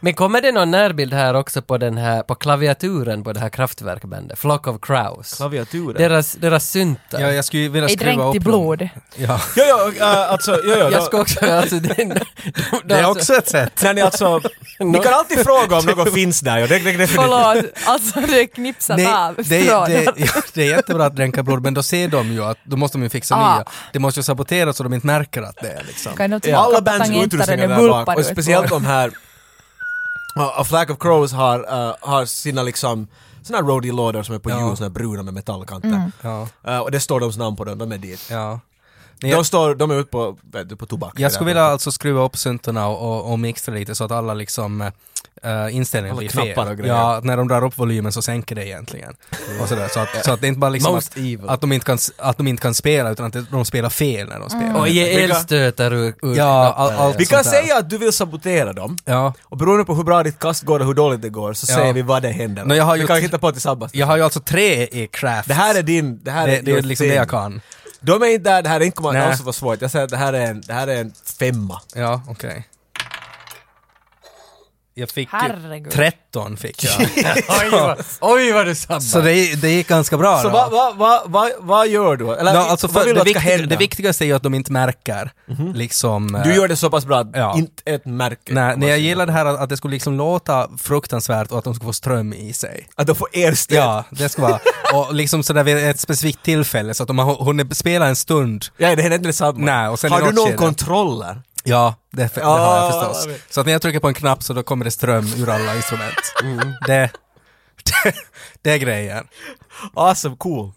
S4: Men kommer det någon närbild här också på den här, på klaviaturen på det här kraftverkbandet? Flock of Crows.
S1: Klaviaturen.
S4: Deras, deras syntar.
S2: Ja, jag skulle ju vilja
S3: Är
S2: skruva upp
S3: dränkt i
S2: dem.
S3: blod.
S2: Ja.
S1: Jo, jo, äh, alltså, jo, jo,
S4: Jag
S1: då-
S4: ska också, alltså, det, de, de,
S2: Det är också ett sätt.
S1: Nej, ni alltså...
S3: [laughs]
S1: Ni kan alltid fråga om något finns där, ja. Det, det, det,
S3: Förlåt, alltså det är knipsat av
S2: det, det,
S3: från-
S2: det, ja, det är [laughs] jättebra att dränka blod, men då ser de ju att då måste de ju fixa
S3: Ah.
S2: nya. Det måste ju saboteras så de inte märker att det är liksom.
S3: Kan jag inte
S1: Ja.
S3: plocka
S1: Alla
S3: på
S1: bands
S3: tangenter
S1: utrustningar
S3: eller
S1: där
S3: vulpar
S1: bak
S3: du
S1: och
S3: ett
S1: speciellt
S3: blod?
S1: de här... Uh, Flack of Crows har, eh, har sina liksom såna här roadie lådor som är på
S2: Ja.
S1: hjul, såna här bruna med metallkanter.
S3: Mm.
S2: Ja,
S1: Eh, och det står deras namn på dem, de är dit.
S2: ja. Men
S1: De,
S2: jag,
S1: står, de är ute på, vet du, på tobak.
S2: jag
S1: Det
S2: skulle
S1: där.
S2: vilja alltså skruva upp syntarna och, och, och mixa lite så att alla liksom eh, inställningar
S1: Alla
S2: blir
S1: knappar och
S2: fel.
S1: grejer. Mm.
S2: Ja, att när de drar upp volymen så sänker det egentligen. Och sådär, så, att, så att det inte bara liksom
S4: Most
S2: att,
S4: evil.
S2: att, de inte kan, s- att de inte kan spela utan att de spelar fel när de spelar.
S4: Och ge elstötar ur,
S2: Ja,
S4: ur knappar.
S2: all- allt
S1: Vi kan
S2: sånt där.
S1: säga att du vill sabotera dem.
S2: Ja.
S1: Och beroende på hur bra ditt kast går och hur dåligt det går så
S2: Ja.
S1: säger vi vad det händer.
S2: Men jag har
S1: vi
S2: gjort-
S1: kan hitta på tillsammans.
S2: Jag har ju alltså tre i craft.
S1: Det här är din... Det här
S2: det,
S1: är,
S2: det är
S1: your
S2: liksom
S1: thing.
S2: det jag kan.
S1: De är inte där, det här är inte kommer
S2: Nej.
S1: alls vara svårt. Jag säger att det här är en, det här är en femma.
S2: Ja, okej. Jag fick ju-
S3: Herregud.
S2: 13 fick jag.
S4: Oj, vad, oj vad du sabbar.
S2: så det, det gick ganska bra
S1: Så
S2: då.
S1: vad va, va, va, vad gör du? Eller
S2: No, alltså
S1: vad
S2: för,
S1: vill
S2: det,
S1: du att ska
S2: viktiga,
S1: hända?
S2: det viktigaste är ju att de inte märker. Liksom, eh,
S1: Du gör det så pass bra att
S2: Ja.
S1: inte ett märke.
S2: Nej, nej, jag gillar det här att, att det skulle liksom låta fruktansvärt och att de skulle få ström i sig.
S1: Att de får erstöd.
S2: Ja, det
S1: [laughs]
S2: ska vara. Och liksom sådär vid ett specifikt tillfälle så att de har hunnit spela en stund.
S1: Ja, det händer inte detsamma.
S2: Nej, och sen
S1: har
S2: i
S1: du
S2: något
S1: någon
S2: skede-
S1: kontroller?
S2: Ja, det, det
S1: Ja,
S2: har jag
S1: ja,
S2: förstås.
S1: jag vet.
S2: Så att när jag trycker på en knapp så då kommer det ström ur alla instrument.
S1: Mm.
S2: Det, [laughs] det, det är grejen.
S1: Awesome, cool.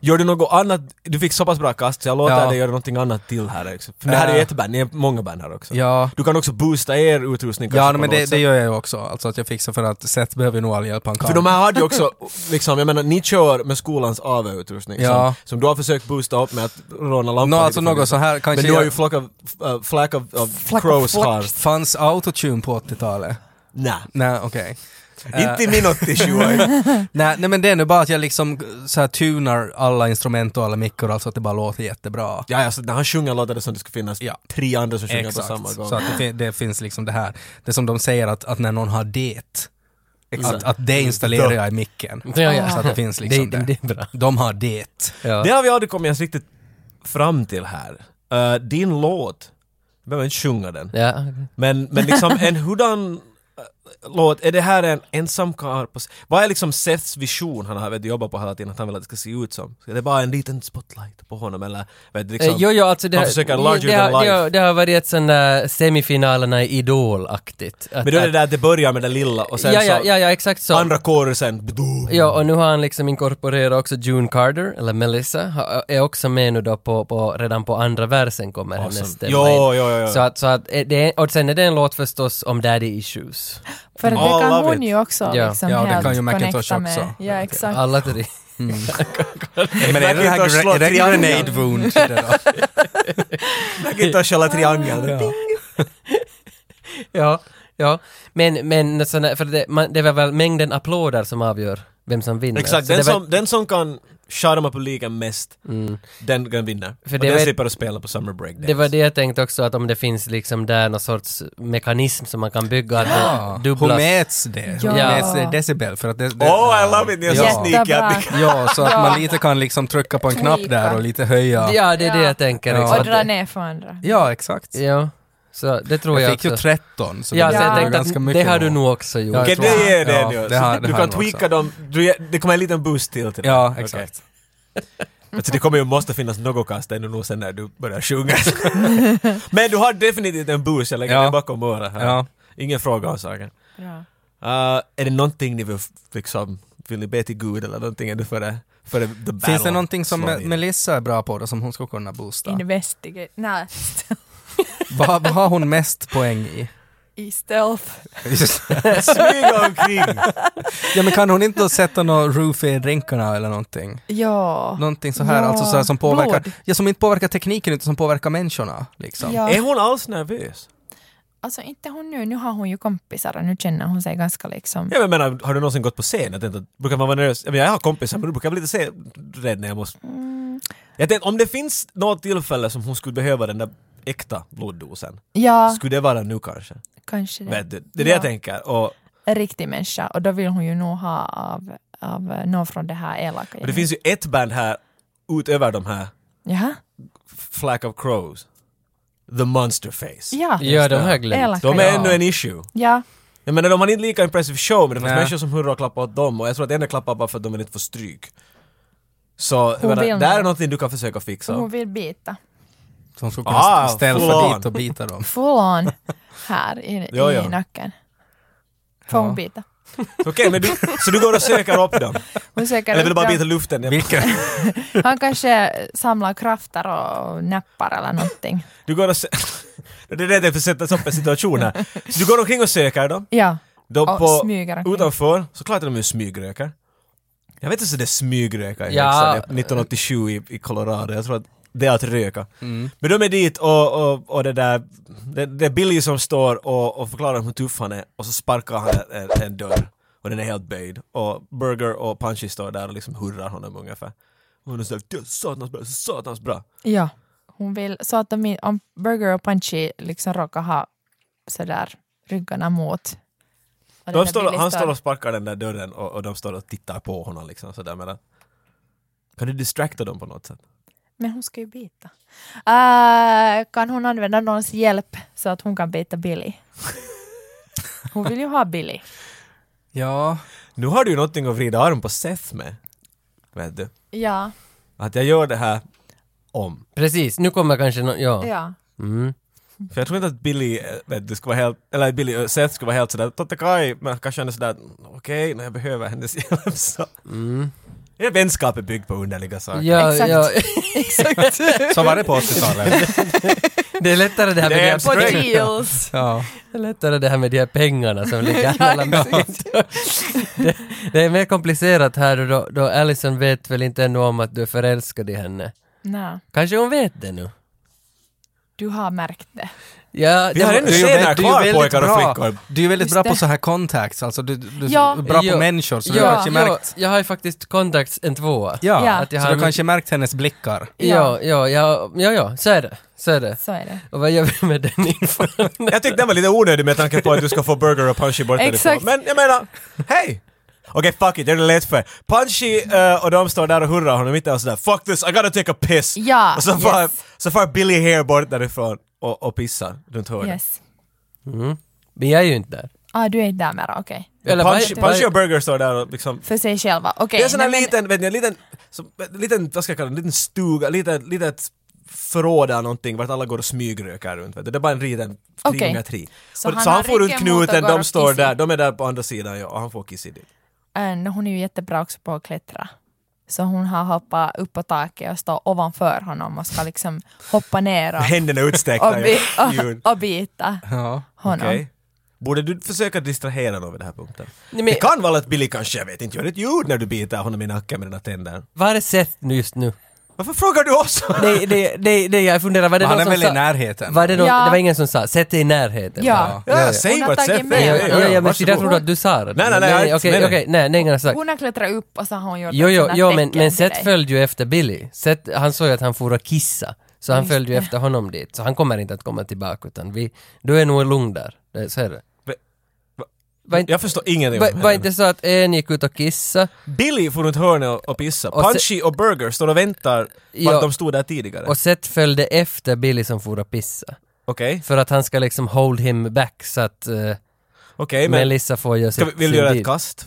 S1: Gör du något annat? Du fick så pass bra kast så jag låter
S2: Mm. Ja.
S1: dig göra någonting annat till här också. För det här är
S2: Ja.
S1: ju ett band, ni är många band här också.
S2: Ja.
S1: Du kan också boosta er utrustning kanske
S2: Ja,
S1: på
S2: men
S1: något
S2: det, det
S1: sätt.
S2: gör jag ju också. Alltså att jag fixar för att Seth behöver ju nog all hjälp han kan.
S1: För de här hade ju också, liksom, jag menar ni kör med skolans AV-utrustning
S2: Ja.
S1: som, som du har försökt boosta upp med att råna lampan.
S2: Nå,
S1: lite
S2: alltså
S1: från
S2: något
S1: vissa.
S2: så här kanske
S1: Men du har
S2: jag-
S1: ju flock of, uh, flack of, of
S3: Flack of
S1: crows
S3: flocks.
S1: har.
S2: Fanns autotune på 80-talet?
S1: Nej.
S2: Nej, okej. Eh,
S1: Inte i min
S2: [laughs]
S1: 87
S2: nej, nej, men det är nu bara att jag liksom så här tunar alla instrument och alla mickor, alltså att det bara låter jättebra.
S1: Ja, alltså när han sjunger låter det som det skulle finnas
S2: Ja.
S1: tre andra som sjunger
S2: Exakt.
S1: på samma gång.
S2: Så att det, fin- det finns liksom det här, det som de säger att, att när någon har det,
S1: Exakt.
S2: att, att det installerar jag i micken.
S4: Ja, ja.
S2: Så att det finns liksom
S4: det,
S2: det.
S4: det är bra.
S2: De har det.
S4: Ja.
S1: Det har vi aldrig kommit ens riktigt fram till här. Eh, din låt, jag behöver inte sjunga den,
S4: Ja. Eh,
S1: men, men
S4: [laughs]
S1: liksom en hurdan eh, låt, är det här en ensam karl på... s- Vad är liksom Seths vision han har vet, du, jobbat på hela tiden, att han vill att det ska se ut som? Är det bara en liten spotlight på honom eller? Vet, du, liksom,
S4: Eh, Jo, jo, alltså det,
S1: man
S4: har-
S1: försöker larger
S4: det,
S1: than
S4: har- det,
S1: life.
S4: har- det har varit ett sånt där semifinalerna i Idol-aktigt. Att-
S1: men då är det
S4: att-
S1: där att det börjar med det lilla och sen
S4: ja, ja,
S1: så
S4: ja, ja, exakt så.
S1: andra korsen...
S4: Ja, och nu har han liksom inkorporerat också June Carter, eller Melissa, ha- är också med nu då på, på redan på andra versen kommer hennes
S1: Awesome.
S4: stämma
S1: Jo,
S4: in.
S1: jo, jo, jo.
S4: Så att, så att eh, det är, och sen är det en låt förstås om daddy issues.
S3: För det
S1: All
S3: kan
S1: of
S3: hon
S1: it.
S3: ju också
S4: Ja.
S3: liksom
S2: Ja, det
S3: helt
S2: kan ju Macintosh
S3: connecta
S2: också.
S3: med. Ja, exakt.
S4: Alla tre.
S1: Mm.
S2: [laughs] Men är det det här
S1: Macintosh slår
S2: gre- är det
S1: triangel.
S2: grenade wound? det då?
S1: Macintosh
S4: [laughs]
S1: alla triangeln.
S4: ja, ja. Men, men såna, för det, man, det var väl mängden applåder som avgör vem som vinner.
S1: Exakt,
S4: Så
S1: den
S4: det var-
S1: som, den som kan charma publiken mest, den kan vinna.
S4: För
S1: och
S4: det
S1: den
S4: var-
S1: slipper att spela på Summer Break
S4: Det var det jag tänkte också, att om det finns liksom där någon sorts mekanism som man kan
S1: [gasps]
S4: bygga, att det
S2: Hon
S4: dubblas.
S2: mäts det. Hon
S3: Ja.
S2: mäts det i decibel för att det... det
S1: Oh, I love it! Ni är så
S2: Ja.
S1: sneaky att
S3: Jättebra.
S1: ni kan...
S2: [laughs] Ja, så att man lite kan liksom trycka på en knapp där och lite höja.
S4: Typ. Ja, det är det
S3: Ja.
S4: jag tänker.
S2: Ja.
S4: också,
S3: Och
S4: att
S3: dra
S4: det-
S3: ner för andra.
S2: Ja, exakt.
S4: Ja, så det tror jag,
S2: Jag fick ju
S4: också.
S2: 13, så
S4: Ja,
S2: det
S4: så
S2: blev
S4: jag
S3: ju
S2: ju
S4: tänkte
S2: ganska
S4: att
S2: mycket.
S4: det har du nog också gjort.
S2: Ja,
S1: Okej,
S2: jag tror
S1: det är det
S2: Ja,
S1: nu. Så
S2: det har-
S1: du
S2: det har
S1: kan
S2: de också.
S1: tweaka dem, du, ger- det kommer en liten boost till till
S2: Ja,
S1: Okej.
S2: exakt.
S1: Alltså, det kommer ju måste finnas något kast ännu nog sen när du börjar sjunga. [laughs] Men du har definitivt en boost, jag lägger
S2: Ja.
S1: den bakom örat här.
S2: Ja.
S1: Ingen fråga om saken.
S3: Bra.
S1: Uh, är det någonting ni vill f- liksom, vill ni be till Gud eller någonting? Är det för det, för det, the battle
S2: Finns det någonting som
S1: slår
S2: Me-
S1: in?
S2: Melissa är bra på då, som hon skulle kunna boosta?
S3: Investigate. Nej.
S2: Vad vad har hon mest poäng i?
S3: I stealth.
S1: [laughs] Smyga omkring!
S2: ja men kan hon inte då sätta någon roof i rinkarna eller någonting?
S3: Ja.
S2: Någonting så här,
S3: Ja.
S2: alltså så här som påverkar,
S3: Blod.
S2: ja som inte påverkar tekniken utan som påverkar människorna liksom.
S3: ja.
S1: Är hon alls nervös?
S3: Alltså inte hon nu, nu har hon ju kompisar och nu känner hon sig ganska liksom...
S1: Jag menar, har du någonsin gått på scen? Jag tänkte, att- brukar man vara nervös? Jag, menar, jag har kompisar, men då brukar jag bli lite se- rädd när jag måste...
S3: Mm.
S1: Jag tänkte, om det finns något tillfälle som hon skulle behöva den där äkta bloddosen,
S3: Ja,
S1: skulle det vara nu kanske?
S3: kanske det.
S1: Vet du? Det är det
S3: Ja.
S1: jag tänker. Och,
S3: En riktig människa och då vill hon ju nog ha av, av eh, någon från det här elaka
S1: och det finns ju ett band här, utöver de här,
S3: Jaha?
S1: Flack of Crows, The Monster Face.
S3: Ja.
S4: Ja, de har jag glömt.
S3: Elaka,
S1: De är
S3: ja.
S1: ännu en issue.
S3: Ja.
S1: Jag menar, de hade inte lika impressive show, men det fanns
S2: Nej.
S1: människor som hurrade och klappade åt dem och jag tror att en klappade bara för att de vill inte få stryk. Så jag
S3: Hon
S1: menar,
S3: vill
S1: där
S3: nog.
S1: är någonting du kan försöka fixa.
S3: Hon vill bita.
S2: Så hon skulle kunna
S1: Ah,
S2: st- ställa
S1: full
S2: sig
S1: on.
S2: dit och bita [laughs] dem.
S3: Full on här i,
S1: Ja, ja.
S3: i nacken. Får
S2: Ja.
S3: hon bita?
S1: Okej, men du, så du går och söker upp dem?
S3: Hon söker
S1: Eller vill du
S3: upp
S1: bara
S3: dem.
S1: bita luften? Ja.
S2: Vilken?
S3: Han kanske samlar krafter och nappar eller någonting.
S1: Du går och sö- [laughs] Det är det jag försöker sätta upp en situation här. Så du går omkring och söker dem.
S3: Ja.
S1: De
S3: Och
S1: på,
S3: smyger omkring.
S1: utanför, såklart är de ju smygrökar. Jag vet inte så det är smygröka i
S4: Ja.
S1: högstadiet, 1987 i, i Colorado. Jag tror att det är att röka. Men de är dit och, och, och det där, det, det är Billy som står och, och förklarar hur tuff han är och så sparkar han en, en dörr och den är helt böjd och Burger och Punchy står där och liksom hurrar honom ungefär. Och hon är sådär "Det är satans bra, det är satans bra.
S3: Ja. Hon vill, så att de, i- om Burger och Punchy liksom råkar ha sådär ryggarna mot. och den
S1: De
S3: där
S1: står,
S3: Billy
S1: han står och sparkar den där dörren och, och de står och tittar på honom liksom sådär medan kan du distracta dem på något sätt?
S3: Men hon ska ju bita. Äh, kan hon använda någons hjälp så att hon kan
S1: [laughs]
S3: bita Billy? Hon vill ju ha Billy.
S2: Ja.
S1: Nu har du ju någonting att vrida arm på Seth med. Vet du?
S3: Ja.
S1: Att jag gör det här om.
S4: Precis, nu kommer kanske någon, ja.
S3: ja.
S4: Mm.
S1: För jag tror inte att Billy, eh, vet du, ska vara helt, eller Billy, eh, Seth ska vara helt sådär, Totte Kai, men kanske han är sådär, "Mm, okej, när jag behöver hennes hjälp så.
S4: Mm.
S1: Er vänskap är byggd på underliga saker.
S4: Ja,
S3: Exakt.
S4: ja.
S3: Exakt.
S2: Så var [laughs] det på 80-talet.
S4: [laughs] Det är lättare det här
S1: Damn
S4: med de
S3: På
S4: här,
S1: straight.
S3: deals.
S2: Ja.
S4: det är lättare det här med de här pengarna som [laughs] ligger mellan [laughs] det, det är mer komplicerat här och då, då Allison vet väl inte ännu om att du är förälskad i henne.
S3: [laughs] Nej,
S4: Kanske hon vet det nu?
S3: du har märkt det.
S4: Ja,
S1: Vi har
S4: det-
S1: ännu
S4: du-
S2: ju
S1: scener
S2: väldigt- du är
S1: kvar
S2: väldigt
S1: pojkar och
S2: bra.
S1: flickor.
S2: Du är väldigt
S3: Just
S2: bra på
S3: det.
S2: så här contacts, alltså du, du
S3: Ja.
S2: är bra på
S4: Ja.
S2: människor så du har
S4: ja,
S2: kanske
S4: ja,
S2: märkt,
S4: jag har ju faktiskt kontakts en tvåa.
S2: ja,
S3: Ja.
S4: Att jag
S2: så
S4: har
S2: du
S4: mycket-
S2: kanske märkt hennes blickar.
S4: Ja, ja, ja, ja, ja, så är det. Så är det.
S3: Så är det.
S4: Och vad gör vi med den infon? [laughs]
S1: Jag tyckte den var lite onödig med tanke på att du ska få Burger och Punchy bort
S3: Exakt.
S1: därifrån. Men jag menar, hej! Okej, fuck it, det är lätt för er. Punchy eh, och de står där och hurrar honom inte alls sådär “Fuck this, I gotta take a piss!”
S3: Ja,
S1: Och så far,
S3: yes.
S1: så far Billy Hare bort därifrån och, och pissar runt hörnet.
S3: Yes.
S4: Mm. Men jag är ju inte där.
S3: Ah, du är inte där mera, okej.
S1: Eller
S4: vad-
S1: Punchy,
S4: vad-
S1: Punchy och Burger står där och liksom...
S3: För sig själva. Okej.
S1: Det är en sån här
S3: nej, men-
S1: liten, vet ni, en liten, som, en liten, vad ska jag kalla det, en liten stuga, lite, litet förråd eller någonting vart alla går och smygrökar runt. Vet du. Det är bara en liten
S3: Okej.
S1: kringa tri.
S3: Så
S1: och,
S3: han
S1: så
S3: har
S1: han får runt
S3: ryggen mot och
S1: knuten,
S3: går
S1: de
S3: och
S1: står
S3: kissar.
S1: där, de är där på andra sidan ja, och han får kiss i det.
S3: Äh, no, hon är ju jättebra också på att klättra. Så hon har hoppat upp på taket och står ovanför honom och ska liksom
S2: [laughs]
S3: hoppa ner och,
S1: Händerna
S3: och,
S1: utsträckta.
S3: bi-
S1: ja. Djur.
S3: [laughs] och, och bita
S2: Ja.
S3: honom.
S1: Okej. Borde du försöka distrahera någon vid den här punkten?
S4: Nej, men,
S1: Det kan vara att Billy kanske, jag vet inte, gör ett ljud när du biter honom i nacken med dina tänder.
S4: Var är Seth nu just nu?
S1: Varför frågar du oss?
S4: Nej, nej, nej, nej jag funderar, var det
S2: Han
S4: någon
S2: är
S4: som
S2: väl i
S4: sa...
S2: närheten?
S4: Var det, någon,
S3: Ja.
S4: det var ingen som sa “sätt dig i närheten”?
S3: Ja.
S1: Ja,
S2: ja.
S1: säg
S3: Hon har
S1: vad
S3: tagit
S1: Seth
S3: med
S1: är.
S4: Ja,
S3: Ja,
S4: ja, ja, men så där
S1: varsågod.
S4: trodde jag att du sa det.
S1: Nej, nej, nej, jag är
S4: okej,
S1: inte med
S4: okej, nej, nej, ingen har sagt.
S3: Hon har klättrat upp och så har hon gjort
S4: Jo,
S3: ett
S4: jo,
S3: sånt här
S4: jo men,
S3: tecken
S4: men
S3: till
S4: Seth
S3: dig.
S4: följde ju efter Billy. Seth, han såg ju att han for och kissa. Så han
S3: Just
S4: följde ju
S3: det.
S4: efter honom dit. Så han kommer inte att komma tillbaka utan vi, du är nog lugn där. Det, så är det.
S1: Va- va-
S4: Var inte,
S1: Jag förstår ingenting
S4: var,
S1: vad som
S4: var
S1: händer.
S4: inte så att en gick ut och kissa
S1: Billy får runt hörnet och- och pissa.
S4: Och se-
S1: Punchy och Burger står och väntar på
S4: Ja.
S1: att de stod där tidigare.
S4: och Seth följde efter Billy som for och pissa.
S1: Okej,
S4: För att han ska liksom hold him back så att eh,
S1: okej men
S4: Melissa får göra
S1: ska
S4: sin,
S1: vi, vill du
S4: sin
S1: göra
S4: deal.
S1: ett kast?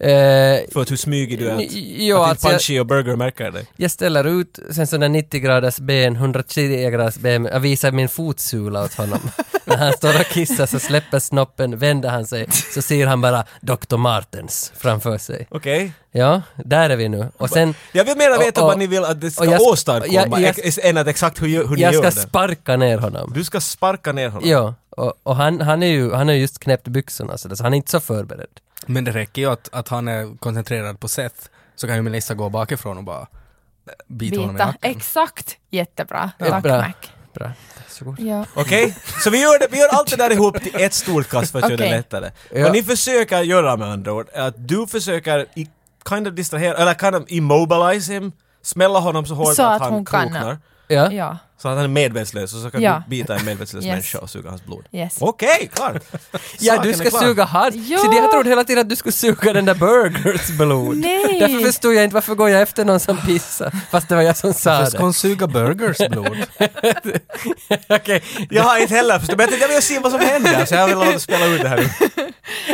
S4: Eh,
S1: För att hur smygig du är. Att,
S4: jo,
S1: att
S4: alltså
S1: inte
S4: jag,
S1: Punchy och Burger märker dig.
S4: jag ställer ut sen sån där 90 graders ben, 110 graders ben, jag visar min fotsula
S1: [laughs]
S4: åt honom. När han står och kissar så släpper snoppen, vänder han sig, så ser han bara Dr. Martens framför sig.
S1: Okej?
S4: Ja, där är vi nu. Och sen,
S1: Jag vill mera veta
S4: Och- och-
S1: vad ni vill att det ska
S4: och jag sk-
S1: åstadkomma,
S4: jag- jag-
S1: ex- än att exakt hur, gö- hur ni
S4: jag
S1: gör
S4: ska
S1: det.
S4: sparka ner honom.
S1: du ska sparka ner honom.
S4: Ja, och, och han, han, är ju, han har ju just knäppt byxorna så, där, så han är inte så förberedd.
S2: Men det räcker ju att, att han är koncentrerad på Seth, så kan ju Melissa gå bakifrån och bara bita honom i
S3: Bita.
S2: nacken.
S3: Exakt. Jättebra.
S4: Ja,
S3: Tack
S4: bra.
S3: Mac.
S4: Bra, varsågod.
S3: Ja.
S1: Okej? Så vi gör, det, vi gör allt det där ihop till ett stort kast för att göra det
S3: Okej.
S1: lättare.
S4: Ja.
S1: Vad ni försöker göra med andra ord är att du försöker i, kind of distrahera, eller kind of immobilize him, smälla honom så hårt
S3: Så
S1: att,
S3: att
S1: han
S3: hon kan-
S1: kroknar.
S4: Ja.
S3: ja.
S1: Så att han är medvetslös och så kan
S3: Ja.
S1: du bita en medvetslös
S3: Yes.
S1: människa och suga hans blod.
S3: Yes.
S1: Okej, klart!
S4: Ja,
S1: Saken
S4: du
S1: är
S4: ska
S1: klar.
S4: suga hans.
S3: Ja.
S4: Så det jag trodde hela tiden att du skulle suga den där burgers blod.
S3: Nej.
S4: Därför förstod jag inte varför går jag efter någon som pissar. Fast det var jag som sa
S2: Varför ska
S4: det.
S2: hon suga burgers blod?
S3: [laughs]
S4: Okej,
S1: Jag har inte heller förstått, men jag tänkte, jag vill se vad som händer så jag vill låta spela ut det här nu.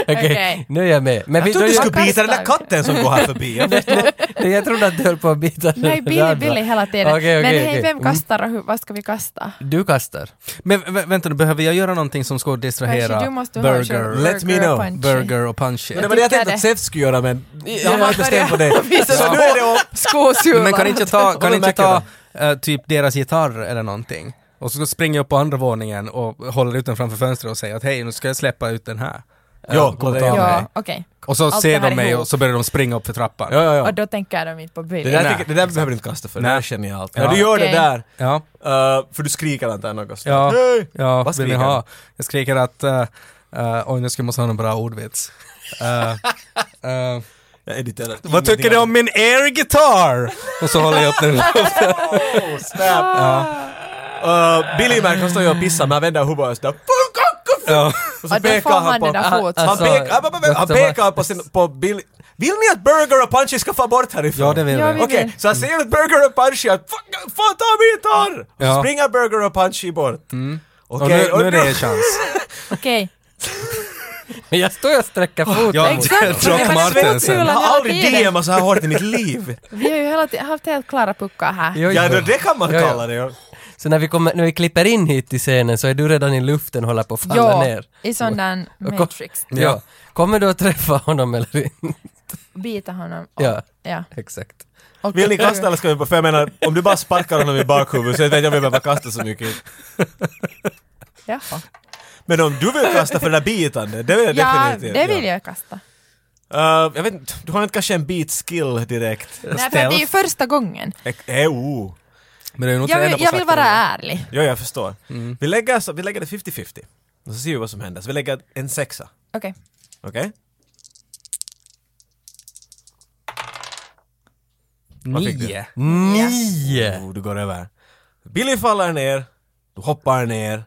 S4: okej.
S3: Okej.
S4: Nu är jag med. Men
S1: Jag trodde du
S4: jag,
S1: skulle bita den där katten som går här förbi. Jag
S4: nej, jag trodde att du höll på att bita den
S3: Nej,
S4: där
S3: Billy,
S4: andra.
S3: Billy hela tiden.
S4: Okej,
S3: Men
S4: okej,
S3: hej,
S4: okej.
S3: vem
S4: Mm.
S3: kastar och hur, vad ska vi kasta?
S4: Du kastar.
S2: Men vä- vänta nu, behöver jag göra någonting som ska distrahera
S3: Kanske du måste ha en
S2: burger,
S3: sån
S1: Let me
S3: burger
S1: know.
S3: punchy.
S2: burger och punchy?
S1: Men det var det jag
S3: tycker
S1: tänkte
S3: det.
S1: att Seth skulle göra men jag
S3: han
S1: var inte bestämd på det.
S3: börjar visa
S1: Så
S3: sig
S1: nu är det upp.
S3: Skosulan.
S2: Men kan inte jag ta,
S1: Och
S2: kan
S1: då
S2: inte jag ta
S1: märker
S2: eh, typ deras gitarr eller någonting? Och så springer jag upp på andra våningen och håller ut den framför fönstret och säger att hej, nu ska jag släppa ut den här. Eh,
S1: Ja,
S2: kom och
S1: det
S2: ta
S1: gör
S2: mig.
S3: Ja, okej.
S2: Och så
S3: Allt
S2: ser
S3: det här
S2: de mig
S3: ihop.
S2: och så börjar de springa upp för trappan.
S1: Ja, ja, ja.
S3: Och då tänker de inte på Billy.
S1: Det där,
S2: Nej.
S1: tycker, det där behöver du inte kasta för, det
S2: Nej.
S1: där är genialt.
S2: Ja.
S1: När du gör det
S3: Okej.
S1: där,
S2: Ja,
S1: eh, för du skriker antar jag något
S2: Ja.
S1: sånt. Hej!
S2: ja,
S1: Vad
S2: vill ni
S1: skriker
S2: ha?
S1: du?
S2: Jag skriker att, eh, eh, oj nu ska jag måste ha någon bra ordvits. Eh, eh,
S1: Jag editerar.
S2: vad tycker du om min air guitar? Och så håller jag upp den.
S3: [laughs]
S1: Oh, snap!
S3: Ah.
S1: Eh, Billy märker han står ju och pissar men han vänder huvudet och sådär "Funkakaffe!"
S2: ja.
S1: Och så
S3: Och då får
S1: pekar han
S3: han den
S1: på...
S3: där
S4: Ah,
S1: Han
S3: foten.
S4: alltså-
S1: pekar, han bara- han
S4: Dr.
S1: pekar på,
S4: Martens.
S1: sin, på Billy. Vill ni att Burger och Punchy ska få bort härifrån?
S2: ja, det vill
S3: Ja,
S2: jag.
S3: vi-
S1: Okej, så han säger att Burger och Punchy att "Fan, fan ta min gitarr! Och så
S2: Ja. Mm.
S1: springer Burger och Punchy bort.
S2: Och nu,
S1: Okej,
S2: nu är
S1: och
S2: det
S1: nu-
S2: er chans.
S3: Okej.
S4: Men jag står och sträcker foten.
S2: Ja,
S3: Exakt.
S2: Doc
S3: Det var
S2: Martensen.
S1: Jag
S3: svetskula.
S1: har aldrig
S3: Hela tiden.
S1: DMat så här hårt i mitt
S2: [laughs]
S1: liv.
S3: Vi har ju hela tiden haft helt klara puckar här.
S4: Jo, jo.
S1: Ja, då det kan man
S4: Ja, ja.
S1: kalla det. ja.
S4: Så när vi, kommer, när vi klipper in hit i scenen så är du redan i luften och håller på att falla
S3: Ja,
S4: ner.
S3: i sån där
S1: Mm.
S4: kom-
S3: matrix.
S4: Ja. Kommer du att träffa honom eller inte?
S3: Bita honom.
S4: Ja.
S3: ja.
S4: Exakt.
S3: Och-
S1: Vill ni kasta eller ska vi... För jag menar, om du bara sparkar honom i bakhuvudet så vet jag inte om vi behöver kasta så mycket.
S3: Jaha.
S1: Men om du vill kasta för den där bitande, det vill jag
S3: Ja,
S1: definitivt.
S3: det vill jag kasta.
S1: Ja. Eh, jag vet inte, du har inte kanske en beat-skill direkt? Eh,
S3: Nej, för det är ju första gången.
S1: Ek- Jo,
S2: Men det är nog
S3: Jag
S2: inte enda
S3: vill,
S2: på
S3: jag vill vara
S2: slakteriet.
S3: ärlig.
S1: ja, jag förstår. Vi, lägger, så- vi lägger det 50-50. Och så ser vi vad som händer. Så vi lägger en sexa.
S3: Okej.
S1: Okej? Vad fick du?
S2: Nio.
S4: Nio!
S1: Oh, du går över. Billy faller ner, du hoppar ner.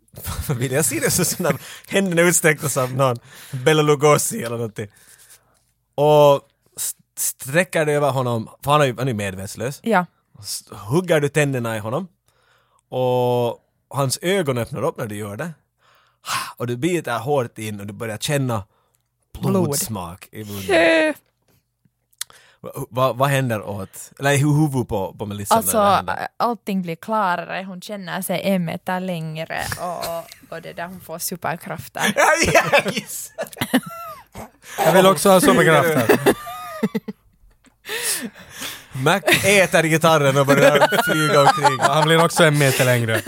S1: [laughs] Vill jag se det så sådana händerna utsträckta som någon Bela Lugosi eller någonting. Och st- sträcker dig över honom, för han är ju han är ju medvetslös.
S3: Ja.
S1: S- Hugger du tänderna i honom och hans ögon öppnar upp när du gör det. Och du biter hårt in och du börjar känna blodsmak i munnen. Va- va- Vad händer åt, eller i huvudet på, på Melissa? när
S3: Alltså,
S1: det händer?
S3: allting blir klarare. Hon känner sig en meter längre och, och det där hon får superkrafter.
S1: Ja, [laughs]
S3: äh.
S1: yes.
S2: Jag vill också ha superkrafter.
S1: Mac äter gitarren och börjar flyga omkring.
S2: Han blir också en meter längre.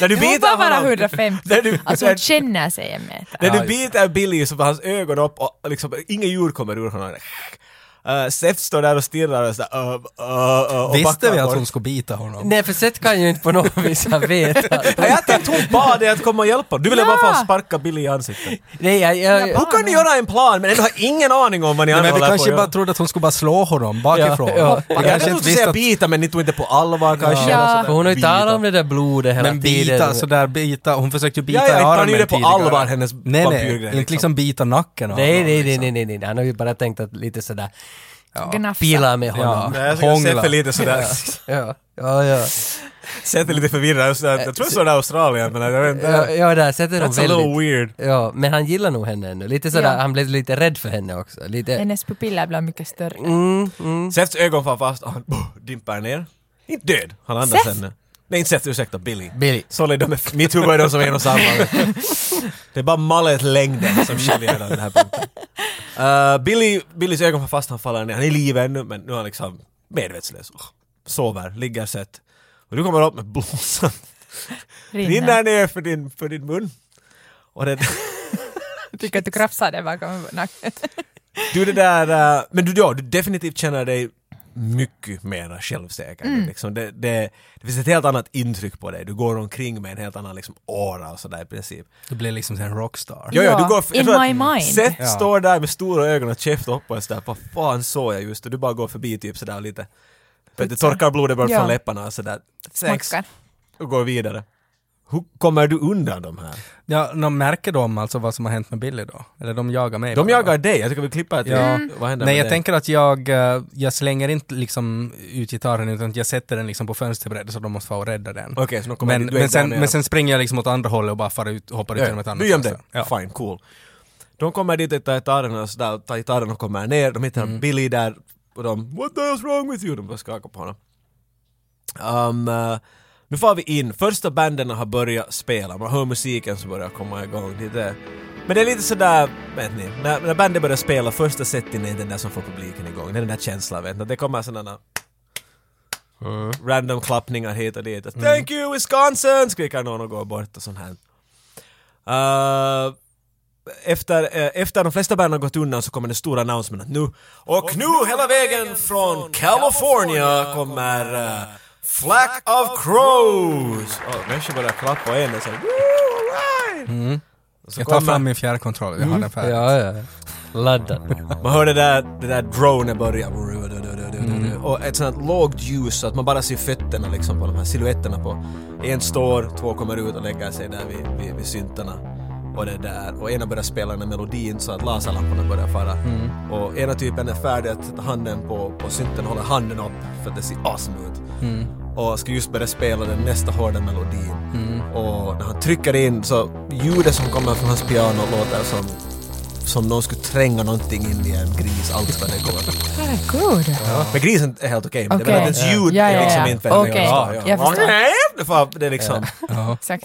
S1: När du
S3: Hon
S1: biter
S3: var bara
S1: honom...
S3: 150.
S1: När du,
S3: Alltså hon
S1: när,
S3: känner sig en meter.
S1: när
S2: Ja,
S1: du
S2: just
S1: biter Billy så får hans ögon upp och liksom, inga ljud kommer ur honom. Uh, Seth står där och stirrar och sådär... Uh, uh, uh, och
S2: Visste
S1: backar
S2: vi att
S1: bort.
S2: hon skulle bita honom?
S4: Nej, för Seth kan ju inte på något vis han
S1: [laughs]
S4: vet. att-
S1: Nej, jag tänkte hon bad dig att komma och hjälpa. Du ville
S3: Ja.
S1: bara fan sparka Billy i ansiktet.
S4: Nej, jag, jag,
S1: Hur kan ni göra en plan men ändå har ingen aning om vad ni
S2: Nej,
S1: andra
S2: men vi
S1: håller på att
S2: kanske
S1: göra?
S2: bara trodde att hon skulle bara slå honom bakifrån.
S4: Ja, ja.
S2: Vi
S1: Jag
S2: kanske
S1: kanske
S2: inte
S1: inte
S2: visste
S1: säga
S2: att...
S1: bita men ni tog inte på allvar kanske.
S3: Ja.
S1: eller sådär.
S4: för hon har ju talat
S1: Bita.
S4: om det där blodet hela
S2: Men
S4: tiden.
S2: bita, sådär bita. Hon försökte ju bita
S1: Ja, ja,
S2: i
S1: tar ni
S2: armen
S1: det på
S2: tidigare.
S1: allvar, hennes
S2: Nej, nej.
S1: vampyrgrej,
S2: Inte liksom bita nacken av
S4: Nej,
S2: honom,
S4: nej, nej,
S2: liksom.
S4: nej, nej, nej, han har ju bara tänkt att lite sådär
S3: Gnafsa.
S4: Pila med
S2: Ja.
S4: honom.
S1: Nej, jag tycker Seth är lite sådär...
S4: Ja, ja, ja.
S1: Seth är lite förvirrad. Jag sådär- Jag tror jag såg det i Australien, men jag vet
S4: Ja,
S1: inte.
S4: ja där sätter de
S1: That's a little
S4: väldigt...
S1: weird.
S4: Ja, men han gillar nog henne ännu. Lite sådär,
S3: Ja.
S4: han blev lite rädd för henne också. Lite...
S3: Hennes pupiller blev mycket större.
S4: Mm, mm.
S1: Seths ögon far fast och han boh, dimpar ner. Inte död. Han andas
S3: Seth?
S1: henne. Nej, inte Seth, ursäkta. Billy.
S4: Billy.
S1: Sorry, de är, mitt huvud är de som är en och samma. Det är bara mallet-längden som skiljer den här punkten. Uh, Billy, Billys ögon far fast, han faller ner. Han är i liv ännu, men nu är han liksom medvetslös. Oh, sover, ligger sett. Och du kommer upp med blåsan. Rinner
S3: Rinner.
S1: ner för din, för din mun. Och det,
S3: Tycker att du krafsade bakom nacken.
S1: du det där, uh, men du, ja, du definitivt känner dig mycket mer självsäker. Liksom det, det, det finns ett helt annat intryck på dig. Du går omkring med en helt annan liksom, aura och sådär i princip.
S2: Du blir liksom en rockstar.
S1: Ja, ja,
S3: Ja,
S1: du går, jag
S3: in
S1: tror
S3: my
S1: att
S3: mind.
S1: Seth
S2: Ja.
S1: står där med stora ögon och käft upp och sådär, vad fan såg jag just? Och du bara går förbi typ sådär och lite, för att det torkar blodet bort
S3: Ja.
S1: från läpparna och sådär. Sex.
S3: Smackar.
S1: Och går vidare. Hur kommer du undan de här?
S2: Ja, de märker de alltså vad som har hänt med Billy då? Eller de jagar mig?
S1: De
S2: bara, va?
S1: jagar dig, jag tycker vi klippar till,
S2: Ja.
S1: vad händer med
S2: Nej, jag
S1: dig?
S2: tänker att jag, eh, jag slänger inte liksom ut gitarren utan jag sätter den liksom på fönsterbrädet så de måste få och rädda den.
S1: Okej, så de kommer
S2: Men,
S1: du är
S2: men,
S1: inte
S2: sen,
S1: där nere.
S2: men sen springer jag liksom åt andra hållet och bara far ut, hoppar ut genom ett
S1: Ja,
S2: annat
S1: Du Eh, gömde
S2: fönster. Ja.
S1: Fine, cool. De kommer dit och tar gitarren och sådär, tar gitarren och kommer ner, de
S2: Mm.
S1: hittar Billy där och de “What the hell's wrong with you?” De bara skakar på honom. Um, eh, nu får vi in, första banden har börjat spela, man hör musiken som börjar komma igång. Det är det. Men det är lite sådär, vet ni, när, när bandet börjar spela, första setten är den där som får publiken igång. Det är den där känslan, vet ni. Det kommer sådana random klappningar hit och dit. “Thank you Wisconsin!” skriker någon och går bort och sånt här. Eh, efter, eh, efter de flesta banden har gått undan så kommer det stora announcement att nu och, nu hela vägen från California kommer eh, Flack of Crows! Oh, människor börjar klappa och en är såhär right! Och så
S2: Jag tar fram
S1: kommer,
S2: min fjärrkontroll, jag har den färdig.
S4: Ja, ja. Laddad.
S1: man hör det där, det där drone börja och ett sånt här lågt ljus så att man bara ser fötterna liksom på de här silhuetterna på en står, två kommer ut och lägger sig där vid, vid, vid syntarna och det där och ena börjar spela den här melodin så att laserlamporna börjar fara och ena typen är färdig att sätta handen på, på synten håller handen upp för att det ser awesome ut och ska just börja spela den nästa hårda melodin och när han trycker in så ljudet som kommer från hans piano låter som som någon skulle tränga någonting in i en gris allt vad det går.
S3: Herregud.
S1: Men grisen är helt okej. Okay.
S3: Okej.
S1: Okay. Dens ljud
S3: Ja, ja,
S1: är liksom
S3: ja.
S1: inte vad
S3: Okej.
S1: jag
S3: Jag förstår.
S1: förstår. Det är liksom...
S3: Exakt.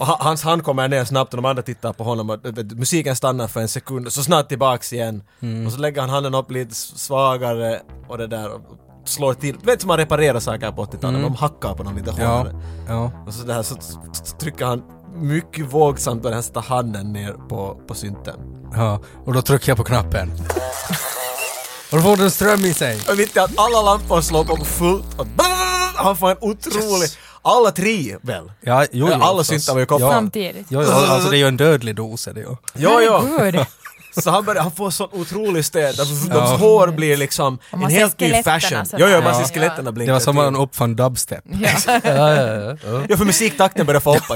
S1: [laughs] Och ha- hans hand kommer ner snabbt och de andra tittar på honom och eh, musiken stannar för en sekund och så snart tillbaks igen. Och så lägger han handen upp lite s- svagare och det där och slår till. Du vet som man reparerar saker på 80-talet, de hackar på dem lite
S2: Ja,
S1: hårdare.
S2: ja.
S1: Och så, där, så t- t- trycker han mycket vågsamt börjar han sätta handen ner på, på synten.
S2: Ja, och då trycker jag på knappen. Och då får den ström i sig.
S1: Och mitt i att alla lampor slår på fullt och BAM! han får en otrolig... Alla tre väl?
S2: Ja, jo, jo,
S1: alla
S2: förstås.
S1: syntar var ju kopplade.
S2: ja.
S3: Samtidigt.
S2: Jo, jo, alltså det är ju en dödlig dos är det ju.
S1: Ja, ja.
S3: Herregud.
S1: Så han, börjar, han får sån otrolig städ. De, de hår blir liksom en
S3: Och man ser
S1: helt ny
S3: skeletterna
S1: fashion.
S3: sådär.
S1: Ja, ja, man
S3: Ja.
S1: ser skeletterna blinka.
S2: Det var som
S1: till.
S2: om man uppfann dubstep.
S1: [laughs]
S3: Ja.
S4: Ja, ja, ja.
S1: Ja, för musiktakten börjar få
S2: [laughs]
S1: hoppa.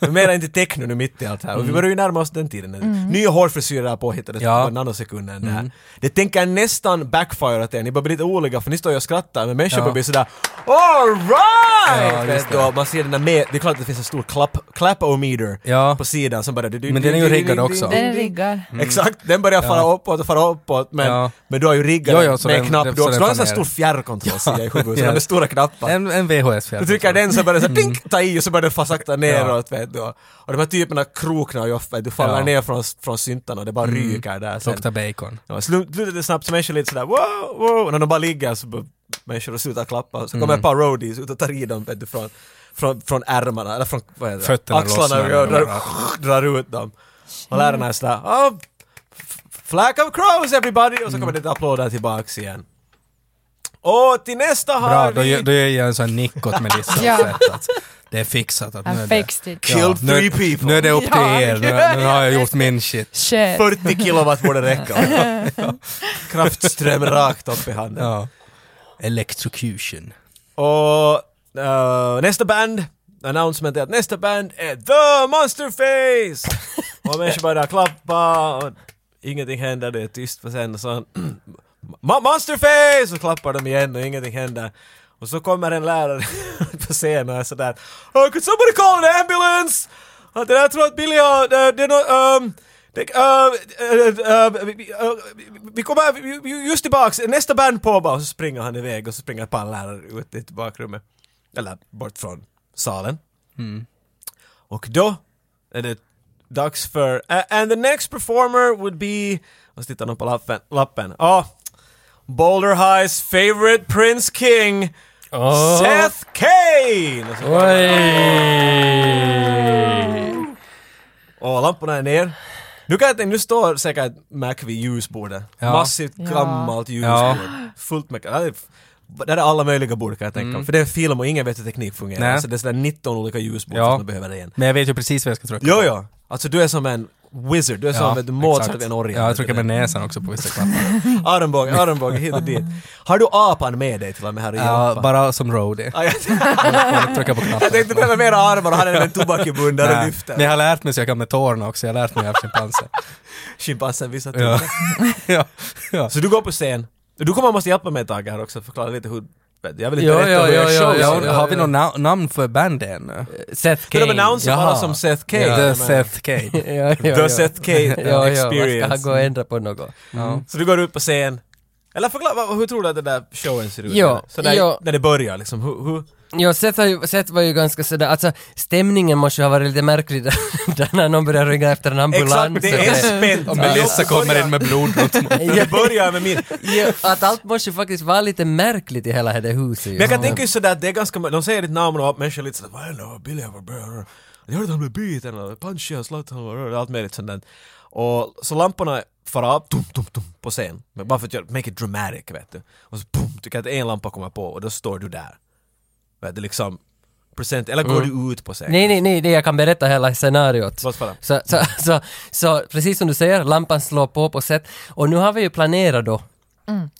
S1: Men Mera inte techno nu mitt i allt här. Och vi börjar ju närma oss den tiden.
S3: Mm.
S1: Nya hårfrisyrer påhittades
S2: Mm. Ja. Mm.
S1: på nanosekunden där. Det tänker jag nästan backfire att er. Ni börjar bli lite oroliga för ni står ju och skrattar men människor
S2: Ja.
S1: börjar bli sådär Alright!
S2: Ja,
S1: Vet
S2: just
S1: du,
S2: det.
S1: och man ser den där med, det är klart att det finns en stor clap, clap-o-meter
S2: Ja.
S1: på sidan som bara... Mm.
S2: Men den är ju riggad också.
S3: Den är riggad.
S1: Exakt, den börjar fara uppåt och fara uppåt men,
S2: Ja.
S1: men du har ju riggat
S2: Jo,
S1: den
S2: jo, så
S1: med en
S2: den-
S1: knapp
S2: den-
S1: du
S2: så
S1: också.
S2: den
S1: Du har en
S2: far
S1: sån här stor
S2: ner.
S1: fjärrkontroll ser jag i huvudet,
S2: Ja.
S1: yeah. med stora knappar.
S2: En, en VHS
S1: Du trycker den så börjar det så
S2: Mm.
S1: här, pink, ta i och så börjar det fara sakta neråt vet du. Och de här typerna kroknar ju ofta, du faller
S2: Ja. Mm.
S1: ner från, från syntarna och det bara ryker där sen.
S2: Luktar bacon.
S1: Ja, slu- Slutet är snabbt så människor är lite sådär wow, wow, och när de bara ligger så bör- människor och slutar klappa. Så
S2: Mm.
S1: kommer ett par roadies ut och tar i dem vet du från, från, från ärmarna, eller från vad heter det?
S2: Fötterna
S1: axlarna
S2: lossnar
S1: och drar,
S2: överallt.
S1: drar ut dem. Och lärarna är sådär oh, f- Flack of crows everybody! Och
S2: Mm.
S1: så kommer det ett applåder tillbaks igen. Och till nästa
S2: Bra,
S1: har
S2: då,
S1: vi...
S2: gör- då gör jag en sån här nick
S1: [laughs]
S2: åt Melissa.
S3: Ja.
S2: sätt att Det är fixat. Att nu är
S3: I
S2: det,
S3: fixed it.
S1: Killed
S2: nu,
S1: three people.
S2: Nu är det upp till
S3: Ja.
S2: er. Nu, nu har jag
S1: [laughs]
S2: gjort min shit.
S3: Shit.
S1: 40 kilowatt borde räcka. Kraftström rakt upp i handen.
S2: Ja. Electrocution.
S1: Och eh, nästa band, announcement är att nästa band är The Monsterface! och människor börjar klappa och ingenting händer, det är tyst för sen och så "Ma- “Monsterface!” och klappar dem igen och ingenting händer. Och så kommer en lärare [laughs] på scenen och är sådär oh, “Could somebody call an ambulance?” Och det där tror att Billy har... Det, det är nå- ehm, det, eh, eh, eh, vi- vi- eh, vi- vi kommer ju- ju- just tillbaks, nästa band påbör och så springer han iväg och så springer ett par lärare ut i bakrummet. Eller bort från salen. Och då är det dags för... a- and the next performer would be... Och så tittar de på lappen. lappen. Ah, Boulder Highs favorite Prince King,
S2: Oh.
S4: Åh.
S1: Seth Kane! Och, så,
S4: Oj!
S1: och lamporna är ner. Nu kan jag tänka, nu står säkert Mac vid ljusbordet.
S2: Ja.
S1: Massivt
S3: Ja.
S1: gammalt ljusbord. Fullt med... Där är, där är alla möjliga bord kan jag
S2: Mm.
S1: tänka mig. För det är en film och ingen vet hur teknik fungerar.
S2: Nej.
S1: Så det är sådär 19 olika ljusbord
S2: Ja.
S1: som man behöver igen.
S2: Men jag vet ju precis vad jag ska trycka
S1: Jo,
S2: på.
S1: jo. Alltså du är som en wizard, du är som en Mozart vid en orgel.
S2: Ja, jag trycker med näsan också på vissa knappar.
S1: Armbåge, armbåge hit och dit. Har du apan med dig till och med här i
S2: ja,
S1: Japan?
S2: bara som roadie.
S1: Ja, jag,
S2: Jag trycker på knappen.
S1: jag tänkte behöva mera armar och han hade en tobak i mun där och
S2: Nej, Men jag
S1: lyfter.
S2: har lärt mig så jag kan med tårna också. Jag har lärt mig av schimpanser.
S1: Schimpansen visar till.
S2: ja. ja. ja.
S1: Så du går på scen. Du kommer måste hjälpa mig ett tag här också, förklara lite hur... Jag vill inte
S4: Jo,
S1: berätta
S4: jo,
S1: hur jag
S4: jo,
S1: show
S4: jo,
S2: Ja,
S1: ja,
S4: jo.
S2: har vi något na- namn för bandet ännu?
S4: [laughs] Seth
S1: Kan
S4: Kane.
S1: de annonsa bara
S2: Jaha.
S1: som Seth Kane?
S2: The
S1: Jag menar,
S2: Seth Kane.
S4: [laughs] ja, ja,
S1: The Seth
S2: [laughs]
S1: Kane
S4: ja, ja, man ska
S1: experience.
S4: han gå och ändra på något?
S2: Ja.
S1: Så du går ut på scen. Eller förklara, vad- hur tror du att den där showen ser ut?
S4: Jo,
S1: så när,
S4: jo.
S1: när det börjar liksom, hur... hur
S4: Ja, Seth, har ju, Seth var ju ganska sådär, alltså stämningen måste ju ha varit lite märklig [laughs] där, där när någon börjar ringa efter en ambulans.
S1: exakt, det är
S4: och [laughs] det-
S1: spänt.
S2: Och Melissa kommer in med blodrot.
S1: Det börjar med min...
S4: Ja, [laughs] att allt måste ju faktiskt vara lite märkligt i hela det här huset ju.
S1: Men jag kan tänka ju sådär att det är ganska, de säger ditt namn och människor är lite sådär vad händer, Billy var bra, jag hörde att han blev biten, och punchig, han slog honom, och allt möjligt sånt där. Och så lamporna far upp, tum, tum, tum, på scen. Men bara för att göra, make it dramatic, vet du. Och så boom, tycker jag att en lampa kommer på och då står du där. Vet du, liksom, present, eller går du ut på scen?
S4: Mm. Nej, nej, nej, nej, jag kan berätta hela scenariot.
S1: Låt höra.
S4: Så, så, så, så precis som du säger, lampan slår på på sätt. Och nu har vi ju planerat då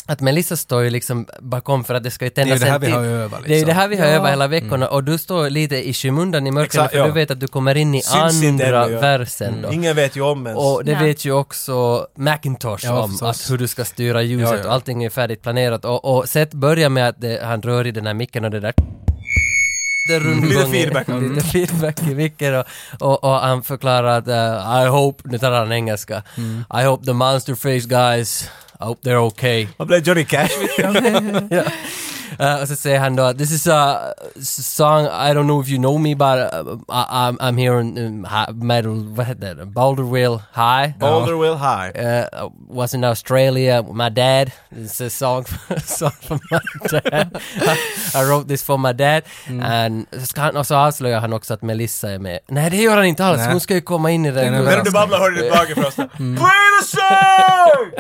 S4: att Melissa står ju liksom bakom för att det ska ju
S2: Det är
S4: tändas
S2: ju det här
S4: en
S2: vi
S4: till-
S2: har övat,
S4: Det är ju det
S2: liksom.
S4: här vi har
S3: Ja.
S4: övat hela veckorna och du står lite i skymundan i mörkret
S1: Exakt,
S4: för
S1: ja.
S4: du vet att du kommer in i
S1: Syns inte
S4: andra
S1: ännu, ja. Mm.
S4: versen då.
S1: Ingen vet ju om ens.
S4: Och det
S3: Nej.
S4: vet ju också Macintosh
S2: Ja,
S4: om,
S2: förstås.
S4: att hur du ska styra ljuset
S2: Ja, ja.
S4: och allting är ju färdigt planerat. Och, och Seth börjar med att det, han rör i den här micken och det där det
S2: Mm.
S4: rundgång
S1: Lite
S4: i-
S1: feedback.
S4: [laughs] lite feedback i micken och, och, och han förklarar att eh, I hope, nu talar han engelska,
S2: Mm.
S4: I hope the monster face guys, I hope they're okay.
S1: Vad blev Johnny Cash?
S4: [laughs] Ja. Eh, och så säger han då att this is a song, I don't know if you know me but uh, I, I'm, I'm here in um, hi- metal, vad heter det, Balderwill High.
S1: Boulder Will High.
S4: uh, was in Australia with my dad. It's a song, [laughs] song from my dad. [laughs] I wrote this for my dad.
S1: Mm.
S4: And, så ska han, och så avslöjar han också att Melissa är med. Nej, det gör han inte alls.
S2: Nej.
S4: Hon ska ju komma in i
S2: är en
S4: den.
S1: Medan du
S2: överraskning.
S1: babblar hörde du bakifrån sådär,
S4: Mm.
S1: Play the song!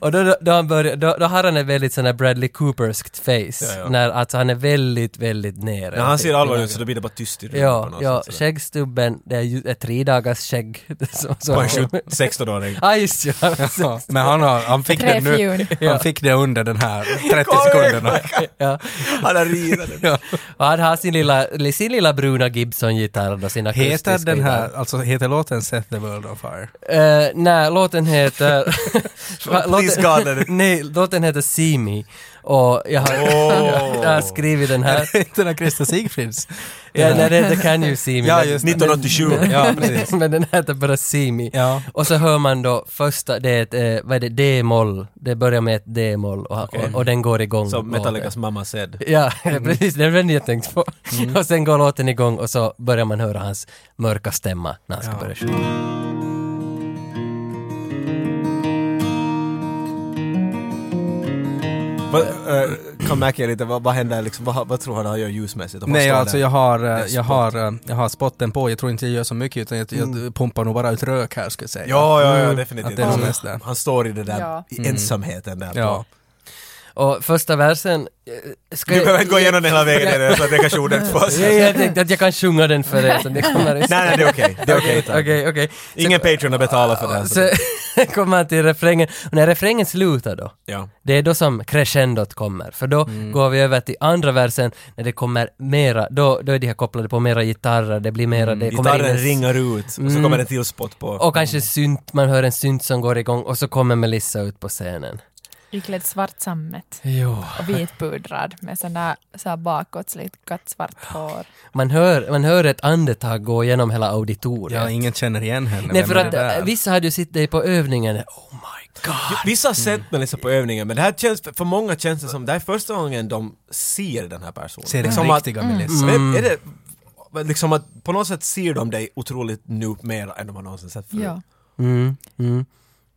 S4: Och då, då, då, han börjar, då, då har han ett väldigt sån här Bradley Cooperskt face.
S1: ja.
S4: När alltså, han är väldigt, väldigt nere. Typ.
S1: När han ser allvarlig ut så då blir det bara tyst i rummet på
S4: Ja,
S1: något
S4: ja,
S1: sätt, sådär.
S4: skäggstubben, det är ju ett tre dagars skägg. [laughs] som- som-
S1: På en
S4: [laughs]
S1: 17 16-åring.
S4: Ja, just det.
S2: [laughs] Ja, men han, har, han, fick det
S3: Tre
S2: nu,
S3: fjun.
S2: han fick det under den här 30
S1: Kom igen,
S2: sekunderna.
S4: Ja.
S1: Han har ridat
S4: [laughs]
S2: Ja.
S4: Och han har sin lilla, sin lilla bruna Gibson-gitarr och sin akustiska
S2: Heter den
S4: gitarr.
S2: här, alltså heter låten Set the World on Fire? [laughs]
S4: Eh, nej, låten heter... Va,
S1: Please God, let it-
S4: [laughs] nej, låten heter See Me. Och jag har,
S1: Åh.
S4: [laughs] jag har skrivit
S2: [laughs]
S4: den här.
S2: den här Krista Sigfrids?
S4: ja, nej, [laughs] den heter Can You See Me.
S2: Ja,
S4: men-
S2: just det.
S1: 1987.
S2: Ja, precis.
S4: [laughs] Men den heter bara See Me.
S2: Ja.
S4: Och så hör man då första, det är ett, eh, vad är det, D-moll. Det börjar med ett D-moll och, och, och den går igång.
S1: Som
S4: låten.
S1: Metallicas mamma said.
S4: Ja, [laughs]
S1: Mm.
S4: precis. Det var den jag tänkte på. Och sen går låten igång och så börjar man höra hans mörka stämma när han ska
S2: Ja.
S4: börja sjunga.
S1: Vad, eh, Kan märka lite, vad, vad händer liksom, vad, vad tror han han gör ljusmässigt? Om han
S2: Nej,
S1: står
S2: alltså
S1: där?
S2: jag har, eh,
S1: spot.
S2: jag, har, eh, jag har spotten på. Jag tror inte jag gör så mycket utan jag, jag pumpar nog bara ut rök här skulle jag säga.
S1: Ja, ja, ja,
S2: Mm.
S1: definitivt.
S2: Att det är nog
S1: Han-
S2: mest där.
S1: Han står i det där,
S3: Ja.
S1: i ensamheten där
S2: Ja.
S1: på.
S4: Och första versen... eh, Ska
S1: Du behöver inte gå igenom den hela vägen där, så att jag kanske ordet för oss.
S4: Ja,
S1: Nej,
S4: jag tänkte att jag kan sjunga den för er så ni kommer
S1: nej, det är okej. Det är okej. tack.
S4: Okej, [laughs] okej.
S1: Ingen Patreon har betalat för det här. så-
S4: Så [laughs] kommer han till refrängen. Och när refrängen slutar då,
S1: Ja.
S4: det är då som crescendot kommer. För då
S1: Mm.
S4: går vi över till andra versen, när det kommer mera, då, då är de här kopplade på mera gitarrer, det blir mera, det kommer in
S1: Mm. Gitarren
S4: en-
S1: ringar ut, och så kommer det till spot på.
S4: Och kanske synt, man hör en synt som går igång och så kommer Melissa ut på scenen.
S3: Iklädd svart sammet
S4: Jo.
S3: och vitpudrad med sån där så här bakåt slickat svart hår.
S4: Man hör, man hör ett andetag gå genom hela auditoriet.
S2: Ja, ingen känner igen henne.
S4: Nej,
S2: Vem
S4: för
S2: är det
S4: att
S2: där?
S4: eh, vissa hade ju sett dig på övningen. Oh my god.
S1: Vissa har
S2: Mm.
S1: sett mig liksom på övningen men det här känns, för många känns det som det här är första gången de ser den här personen.
S2: Ser den
S1: liksom
S2: riktiga Melissa.
S1: Att, mm. är det, men liksom att på något sätt ser de dig otroligt nu mer än de har någonsin sett förut.
S3: Ja.
S4: Mm, mm.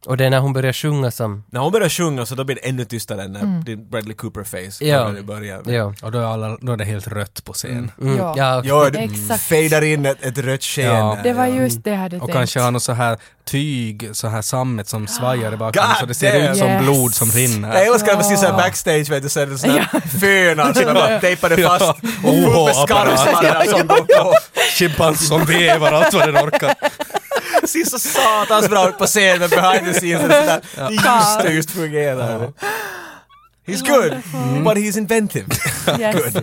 S4: Och det är när hon börjar sjunga som...
S1: När hon börjar sjunga så då blir det ännu tystare än när din Bradley Cooper-face
S4: Ja.
S1: kommer i början.
S4: Ja.
S2: Och då är, alla, då är det helt rött på scen.
S4: Mm,
S3: Ja.
S4: ja.
S1: Ja, det
S3: Exakt.
S1: fejdar in ett, ett rött sken.
S2: Ja.
S1: där.
S3: Det var just det jag hade
S2: Och
S3: tänkt.
S2: kanske har något så här tyg, så här sammet som svajar i bakgrunden
S1: God
S2: så det ser ut som
S3: damn.
S2: blod som
S3: Yes.
S2: rinner.
S1: Jag älskar när man ser såhär
S3: Ja.
S1: backstage vet du, så är det sådär fönar som de bara tejpade fast
S2: Ja.
S1: och
S2: Oh,
S1: med skarvsladdar som de på.
S2: Schimpans som vevar allt vad den orkar.
S1: Ser så satans bra ut på scen men behind the scenes är det sådär, det är just det just fungerar. He's good,
S4: Mm.
S1: but he's inventive. [laughs]
S3: Yes.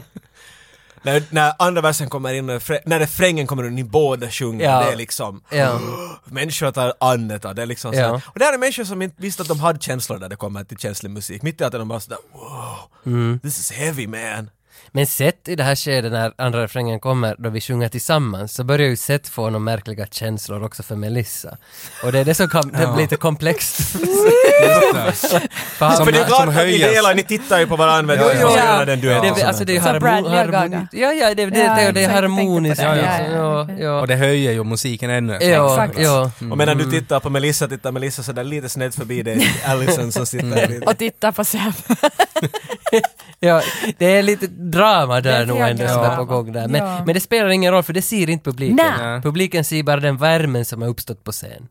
S1: när, när andra versen kommer in, och fre- när refrängen kommer in, ni båda sjunger,
S4: Ja.
S1: det är liksom [gasps]
S4: Ja.
S1: Människor tar andetag, det är liksom
S4: Ja.
S1: såhär. Och det här är människor som inte visste att de hade känslor när det kommer till känslig musik. Mitt i allt är de bara sådär wow,
S4: Mm.
S1: this is heavy man.
S4: Men Seth i det här skedet när andra refrängen kommer, då vi sjunger tillsammans, så börjar ju Seth få några märkliga känslor också för Melissa. Och det är det som kom, det blir
S2: [laughs]
S4: lite komplext. För han-
S2: Som-
S1: För det är klart
S2: som
S1: att ni
S2: höjer.
S1: delar, ni tittar ju på varandra, men
S2: Ja,
S1: ja,
S2: ja.
S1: ja. den duetten.
S4: Det, är- alltså det är ju
S3: Som
S4: harmo-
S3: Bradley och Gaga.
S4: harmoni- Ja, ja, det, det,
S3: Ja,
S4: det, det är
S3: exakt,
S4: harmoniskt.
S3: tänkte
S2: på det.
S4: Ja,
S3: Ja,
S4: ja,
S3: ja.
S4: ja.
S2: Och det höjer ju musiken ännu ett
S4: Ja,
S2: snäpp.
S3: Exakt.
S4: ja.
S1: Och medan du
S2: Mm.
S1: tittar på Melissa, tittar Melissa sådär lite snett förbi dig,
S2: [laughs]
S1: Allison som sitter
S2: Mm.
S1: där lite.
S3: Och titta på Sam.
S4: Ja, det är lite drama
S3: Det
S4: där
S3: är
S4: nog
S3: lite
S4: ändå som är
S3: drama.
S4: på gång där. Men,
S3: Ja.
S4: men det spelar ingen roll för det ser inte publiken.
S2: Nej.
S4: Publiken ser bara den värmen som har uppstått på scen.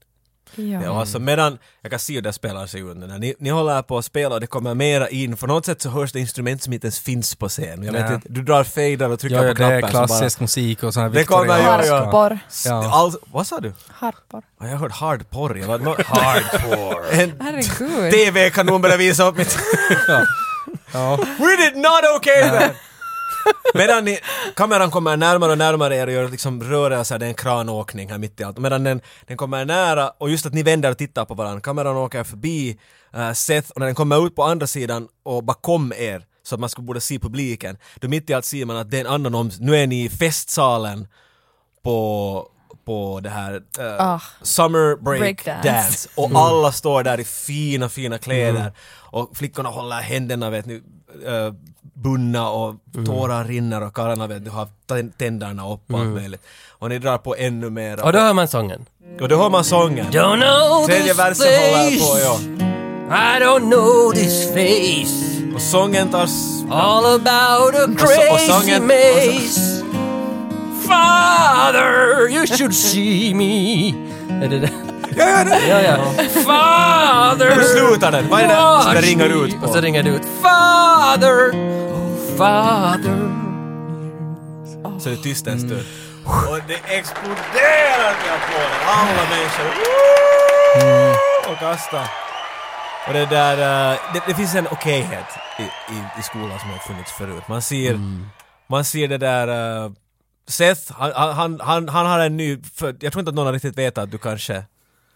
S1: Ja, alltså medan, jag kan se hur det spelar sig under. När Ni, ni håller på att spela och det kommer mera in. På något sätt så hörs det instrument som inte ens finns på scen. Jag vet
S2: Nej.
S1: inte, du drar fader och trycker
S2: Ja, ja,
S1: på
S2: det är
S1: knappen. så bara-
S2: klassisk musik och sån här
S1: Det kommer,
S2: viktorianska.
S1: ja, ja.
S3: Harpor.
S2: Ja.
S1: All, vad sa du?
S3: Harpor.
S1: Ja, Jag hörde hard porr. Jag var, hardcore. En
S3: Herregud.
S1: TV-kanon började visa upp mitt...
S2: Ja.
S1: We did not okay that! Medan ni, kameran kommer närmare och närmare er och gör liksom rörelser, det är en kranåkning här mitt i allt. Medan den, den kommer nära och just att ni vänder och tittar på varandra. Kameran åker förbi eh, Seth och när den kommer ut på andra sidan och bakom er så att man skulle borde se publiken. Då mitt i allt ser man att det är en annan om... Nu är ni i festsalen på, på det här eh,
S3: Ah.
S1: Summer Break,
S3: Breakdance.
S1: Dance. Och
S4: Mm.
S1: alla står där i fina, fina kläder. Och flickorna håller händerna, vet ni, eh, bundna och
S4: Mm.
S1: tårar rinner och karlarna, vet ni, har tän- tänderna upp och allt möjligt. Och ni drar på ännu mer.
S4: Mm. Och då hör man sången.
S1: och då hör man sången.
S4: Don't know
S1: Tredje
S4: this
S1: versen håller
S4: face.
S1: på, ja.
S4: I don't know this face.
S1: Och sången tar... s-
S4: All about a
S1: så- och
S4: crazy
S1: sången-
S4: maze. Father, you should see me. Är det det? Ja, ja. Father!
S1: Hur slutar den? Vad är det som det ringer ut
S4: Och så
S1: på?
S4: ringer det ut. Father! Oh, father!
S1: Så det är tyst en stund. Och det exploderar med applåder. Alla människor och kastar. Och det där, eh, det, det finns en okejhet i, i, i skolan som har funnits förut. Man ser, man ser det där eh, Seth, han, han- han, han, han har en ny, för, jag tror inte att någon har riktigt vet att du kanske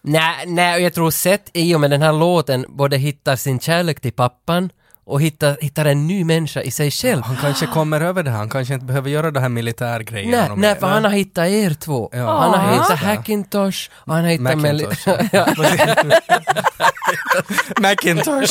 S4: Nej, nej, och jag tror sett i och med den här låten både hittar sin kärlek till pappan och hittar, hittar en ny människa i sig själv.
S2: Han kanske kommer över det här, han kanske inte behöver göra det här militärgrejen.
S4: Ah. Nej,
S2: och
S4: nej,
S2: mer.
S4: för han har hittat er två.
S2: Ja.
S4: Han har
S3: Ah.
S4: hittat Hackintosh och han har hittat
S2: Macintosh.
S4: Meli-
S2: [laughs]
S1: [laughs]
S2: Macintosh!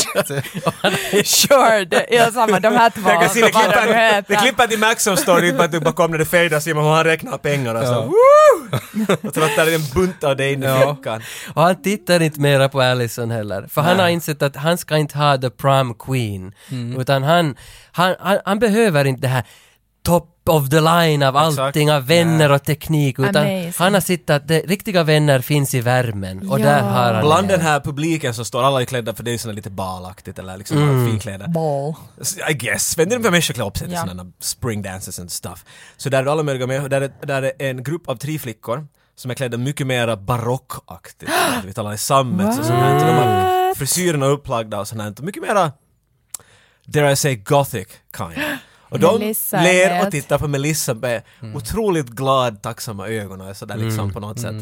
S3: Sure, det är samma. De här två.
S1: Jag kan se det
S3: Vad var
S1: klippet,
S3: de heter?
S1: det klippet i Max som står dit bara bakom när det fejdar ser man hur han räknar pengar och så woo! Och trottar en bunt av dig in i
S2: Ja.
S1: fickan.
S4: och han tittar inte mera på Allison heller. För han har insett att han ska inte ha the prom queen.
S1: Mm.
S4: Utan han, han, han, han behöver inte det här top of the line av
S1: Exakt.
S4: allting, av vänner och teknik. Utan
S3: Amazing.
S4: han har sett att det, riktiga vänner finns i värmen. Och
S3: Ja.
S4: där har han
S1: Bland
S4: det.
S1: den här publiken så står alla i klädda för det är ju såna lite balaktigt eller liksom mm. finkläder.
S3: Ball.
S1: I guess. Men det är väl människor klär upp sig till
S3: Ja.
S1: sådana spring dances and stuff. Så där är alla möjliga med, där är, där är en grupp av tre flickor som är klädda mycket mer
S3: [gasps]
S1: barockaktigt. Vi talar i sammet och sånt här. Så de har frisyrerna upplagda och sånt här. Mycket mera, dare I say, gothic
S3: [gasps]
S1: kind. Och de
S3: Melissa
S1: ler
S3: lät.
S1: och tittar på Melissa med otroligt glad, tacksamma ögon och är sådär liksom på något sätt.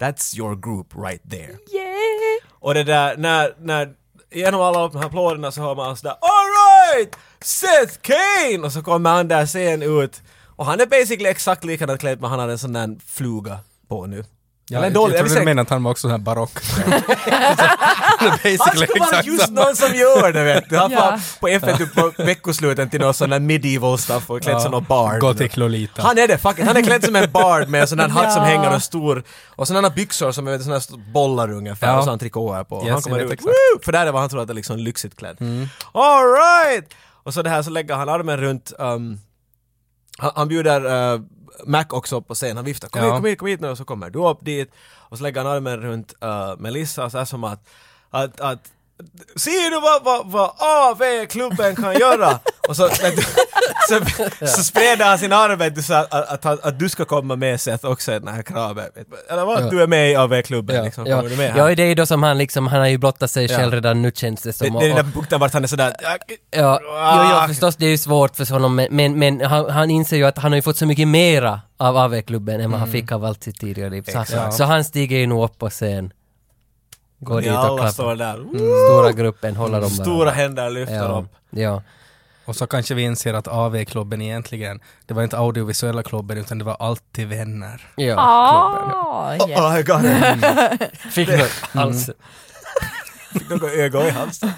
S1: That's your group right there.
S3: Yeah.
S1: Och det där, när, när genom alla de här applåderna så hör man sådär Alright! Seth Kane! Och så kommer han där sen ut. Och han är basically exakt likadant klädd men han har en sån där fluga på nu.
S2: Ja,
S1: Eller
S2: jag,
S1: en
S2: jag,
S1: dålig-
S2: trodde
S1: vill säga-
S2: du menade att han var också sån
S1: [laughs]
S2: här barock. Så, det är basically
S1: Han ska vara
S2: exakt
S1: just
S2: samma.
S1: någon som gör det vet du. Han
S3: Ja.
S1: var på F1 typ på veckosluten till någon sån där medieval stuff och klädd som någon bard.
S2: Gothic Lolita.
S1: Han är det, fuck it. Han är klädd som en bard med en sån där hatt som
S3: Ja.
S1: hänger och stor och sådana byxor som är såna här bollar ungefär
S2: Ja.
S1: och så har han trikåer på.
S2: Yes,
S1: han kommer
S2: jag vet
S1: ut,
S2: exakt.
S1: Woo! för där är vad han tror att det är liksom lyxigt klädd. All right! Och så det här så lägger han armen runt, um, han, han bjuder eh, Mac också upp på scen, han viftar kom
S2: Ja.
S1: hit, kom hit, kom hit nu och så kommer du upp dit och så lägger han armen runt eh, Melissa så här som att, att, att Ser du vad, vad, vad AV-klubben kan göra? Och så, [laughs] vet du, så, så sprider han sin arm vet du, så att, att, att, han- att du ska komma med Seth också i den här kraven. vet du. Eller vad?
S4: Ja.
S1: Du är med i AV-klubben
S4: Ja,
S1: liksom.
S4: ja.
S1: Kommer du med här?
S4: ja, det är ju då som han liksom, han har ju blottat sig
S1: Ja.
S4: själv redan nu känns det som.
S1: det,
S4: och-
S1: det är den
S4: och-
S1: där punkten vart han är sådär...
S4: Ja, jo,
S1: Ah.
S4: ja, förstås det är ju svårt för honom men, men, men han, han inser ju att han har ju fått så mycket mera av AV-klubben än vad han fick av allt sitt tidigare liv. Så,
S2: Exakt.
S4: så han stiger ju nog upp på scen, går
S1: Ni
S4: dit och
S1: alla
S4: klappar.
S1: står där.
S4: Stora gruppen håller dem
S1: Stora händer lyfter
S4: Mm. ja,
S1: upp.
S4: ja.
S2: Och så kanske vi inser att AV-klubben egentligen, det var inte audiovisuella klubben utan det var alltid vänner.
S4: ja.
S3: Ah, yes.
S1: Oh, I got
S4: [laughs]
S1: it.
S4: Fick något alls.
S1: Fick några ögon i halsen.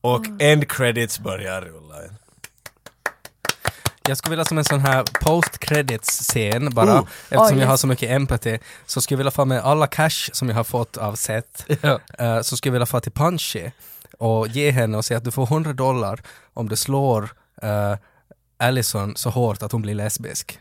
S1: Och
S3: Mm.
S1: end credits börjar rulla.
S2: Jag skulle vilja som en sån här post-credits-scen bara,
S1: Oh.
S2: eftersom
S3: Oj,
S2: jag har
S3: just.
S2: så mycket empati, så skulle jag vilja få med alla cash som jag har fått av Seth,
S4: Ja.
S2: eh, så skulle jag vilja få till Punchy och ge henne och säga att du får 100 dollar om du slår eh, Allison så hårt att hon blir lesbisk.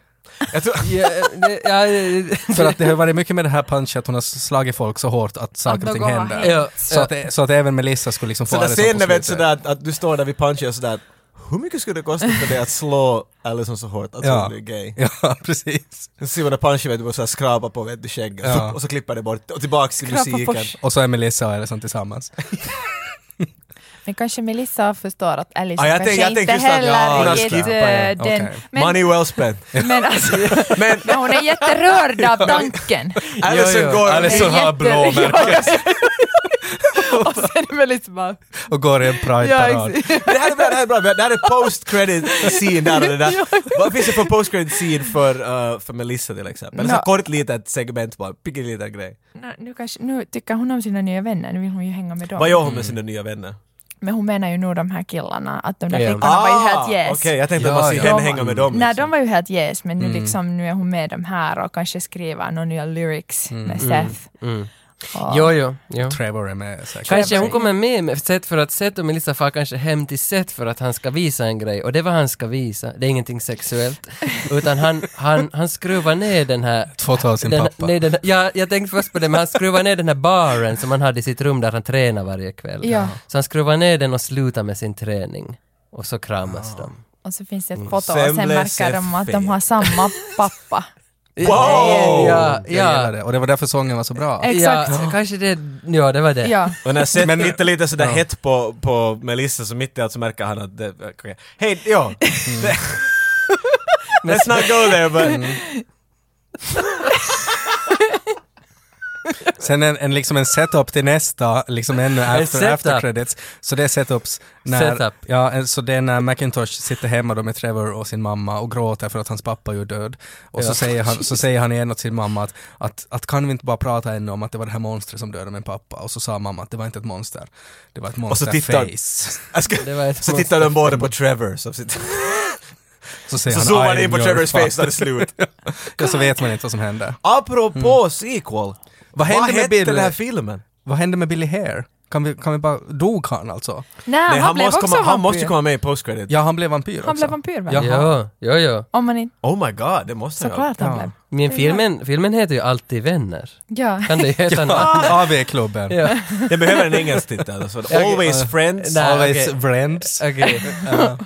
S1: Jag tror,
S4: Ja, det, ja, det-
S2: För att det har varit mycket med det här Punchy, att hon har slagit folk så hårt att saker och ting
S3: går han
S2: händer.
S3: in.
S4: ja,
S2: Så att, så att även Melissa skulle liksom få
S1: Så där
S2: Allison på
S1: scenen vet
S2: slutet.
S1: sådär att, att du står där vid punchen och sådär att, hur mycket skulle det kosta för dig att slå Allison så hårt att
S2: Ja.
S1: hon blir gay?
S2: [laughs] Ja, precis.
S1: Så ser man där punchen vet du bara såhär skrapa på vet du skägget
S2: Ja.
S1: och så klipper det bort och tillbaks till
S3: Skrapa på
S1: musiken.
S3: sk-
S2: Och så är Melissa och Alison tillsammans.
S3: Men kanske Melissa förstår att Alice
S1: Ah, jag
S3: kanske
S1: tänker- jag
S3: inte
S1: tänker just att-
S3: heller
S1: ja, hon har
S3: riktigt
S1: skippat,
S3: eh,
S2: ja.
S3: den.
S2: Okej.
S3: Men,
S1: Money well [laughs] spent.
S3: men alltså,
S1: Men
S3: men hon är jätterörd
S1: [laughs]
S3: av tanken.
S1: Allison
S2: jo.
S1: går...
S2: Allison- Som
S3: Det är
S2: har blåmärken.
S3: Ja, ja. [laughs] Och sen är Melissa bara...
S2: Och går
S3: [laughs]
S2: i en
S3: Ja,
S2: prideparad.
S3: exakt.
S1: Det här är bra, det här är bra, det här är post credit scene där och det
S3: [laughs]
S1: där. Vad finns det för post credit scene för, eh, för Melissa till exempel? Eller så
S3: Ja.
S1: kort litet segment bara, liten grej.
S3: Nu- nu, kanske, nu tycker hon om sina nya vänner, nu vill hon ju hänga med dem.
S1: Vad gör hon med sina nya vänner?
S3: Men hon menar ju nog de här killarna, att de där
S4: Ja.
S3: flickorna var ju helt
S1: Ah, Okej,
S3: yes.
S1: jag tänkte att
S2: Ja,
S1: man ser
S2: ja.
S1: henne hänga med dem.
S3: Nej,
S1: liksom.
S3: de var ju helt yes, men nu,
S1: Mm.
S3: liksom, nu är hon med de här och kanske skriver några nya lyrics med Seth.
S4: mm.
S3: Och,
S4: [laughs] Jo, jo, jo.
S2: Trevor är med säkert.
S4: Kanske hon kommer med med Seth för att Seth och Melissa far kanske hem till Seth för att han ska visa en grej och det var han ska visa, det är ingenting sexuellt. Utan han, han, han skruvar ner den här
S2: Två tal sin
S4: den,
S2: pappa.
S4: Nej, den, ja, jag tänkte först på det, men han skruvar ner den här baren som han hade i sitt rum där han tränar varje kväll.
S3: Ja.
S4: Så han skruvar ner den och slutar med sin träning. Och så kramas de.
S3: och så finns det ett foto
S1: Mm, Sen
S3: och sen
S1: blev
S3: märker
S1: Seth
S3: de att
S1: fet.
S3: de
S1: [laughs]
S3: har samma pappa.
S1: Wow!
S4: Ja,
S2: Jag gillar
S4: ja,
S2: det. Och det var därför sången var så bra.
S3: Ex-
S4: ja,
S3: Exakt.
S4: kanske det, ja det var det.
S3: ja.
S1: Och när Seth
S2: Men-
S1: men, lite, lite sådär
S2: Ja.
S1: hett på, på Melissa så mitt i allt så märker han att det, okej. Hej,
S3: [laughs] Mm.
S1: ja. Det- Let's not go there but...
S3: Mm.
S2: Sen en, en, liksom en setup till nästa, liksom ännu after,
S4: setup.
S2: after credits. Så det är setups. När,
S4: Setup.
S2: Ja, en- så det är när Macintosh sitter hemma då med Trevor och sin mamma och gråter för att hans pappa är ju död. Och så,
S4: Ja.
S2: säger han, så säger han igen åt sin mamma att, att, att kan vi inte bara prata ännu om att det var det här monstret som dödade min pappa? Och så sa mamma att det var inte ett monster, det var ett
S1: så
S2: monsterface.
S1: [laughs] Jag ska,
S4: Det var ett
S1: så tittar de båda på Trevor som sitter...
S2: Så, säger
S1: Så
S2: han,
S1: zoomar
S2: "I
S1: han in
S2: am
S1: på
S2: your
S1: Trevors face
S2: father."
S1: när det är slut.
S2: Ja, så vet man inte vad som hände.
S1: [laughs] Apropå sequel.
S2: Vad
S1: Vad
S2: hände med
S1: hette
S2: Bill?
S1: den här filmen?
S2: Vad hände med Billy Hare? Kan vi, kan vi bara, dog han alltså?
S3: Nej, han, Ah, blev
S1: måste
S3: också
S1: komma,
S3: vampyr.
S1: han måste komma med i postcredit.
S2: Ja, han blev vampyr också.
S3: Han blev vampyr väl?
S2: Ja.
S4: Ja, ja, ja.
S3: Om man inte...
S1: Oh my god, det måste jag.
S3: Såklart han
S2: Ja.
S3: blev.
S4: Men filmen, filmen heter ju alltid Vänner.
S3: Ja.
S4: Kan det heta något?
S2: [laughs] Ja, AV-klubben.
S4: Ja.
S1: Det behöver en engelsk titel.
S3: [laughs]
S1: Alltså. Always
S4: eh,
S1: Friends.
S4: nej.
S2: Always
S4: okej. Eh,
S2: friends.
S4: Okej.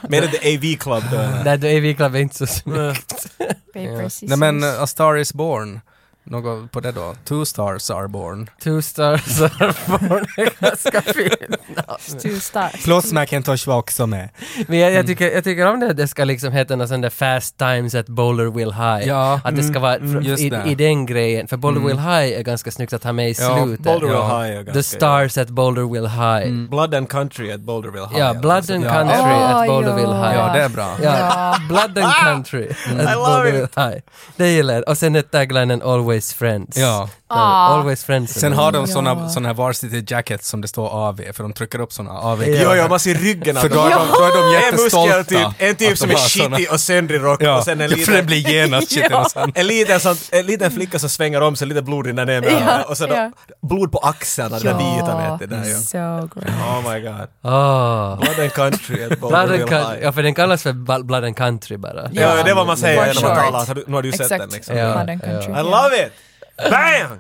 S1: Med det AV Club. då.
S4: Nej, då är vi klart inte så snyggt.
S3: Paper,
S2: Nej
S3: scissors.
S2: men uh, A Star Is Born Något på det då? Two stars are born.
S4: Two stars [laughs] are born. Det är ganska fint. alltså,
S3: Stu Stark.
S2: Plus Macintosh var också med.
S4: Men jag,
S1: Mm.
S4: jag, tycker, jag tycker om det att det ska liksom heta någon sån där fast times at Bowler Will High.
S2: Ja,
S4: Att det ska vara
S2: mm, just
S4: i,
S2: det.
S4: i den grejen. För Boulder Will High är ganska snyggt att ha med i
S2: Ja,
S4: slutet.
S1: Boulder Mm. Will
S2: Ja.
S1: High är ganska... Mm.
S4: The stars at Boulder Will High.
S1: Blood and Country at Boulderville High.
S4: Ja, Blood and
S2: Ja.
S4: Country
S3: Åh,
S4: at Boulder Will
S3: ja.
S4: High.
S2: Ja, det är bra.
S4: Ja, [laughs] Blood and
S1: [laughs]
S4: Country.
S1: I
S4: At
S1: love
S4: Boulder
S1: it.
S4: Will High. Det gillar jag. Och sen är taglinen Always Friends.
S2: Ja.
S4: Då,
S3: Ah.
S4: Always Friends.
S2: Sen har de såna,
S3: Ja.
S2: såna här varsity jackets som det står AV, för de trycker upp såna AV.
S1: Alltså, Jo, jo, man ser ryggen av
S2: För då är de, då är de jättestolta.
S1: En muskel typ, en typ
S2: att
S1: som
S2: de
S1: är
S2: har såna.
S1: skitig och söndrig rock
S2: Ja,
S1: och sen en
S2: ja, för
S1: liten...
S2: den blir
S1: [laughs]
S2: genast shit och sen.
S1: En liten, sån, en liten flicka som svänger om sig, lite blod rinner ner med henne. och sen då-
S3: ja.
S1: blod på axeln, den där vita vet du. Där, ja.
S3: So great.
S1: Oh my god.
S4: Ah.
S1: Blood and country at
S4: Blood
S1: Boulderville
S4: and Country.
S1: High.
S4: Ja, för den kallas för Bal- Blood and Country bara.
S1: Ja, det är vad man säger
S3: One
S1: när man
S3: short.
S1: talar. Har du- Nu har du sett den
S3: Exakt.
S1: liksom.
S4: Ja,
S3: Modern
S4: ja.
S3: country.
S1: I love it! Bam!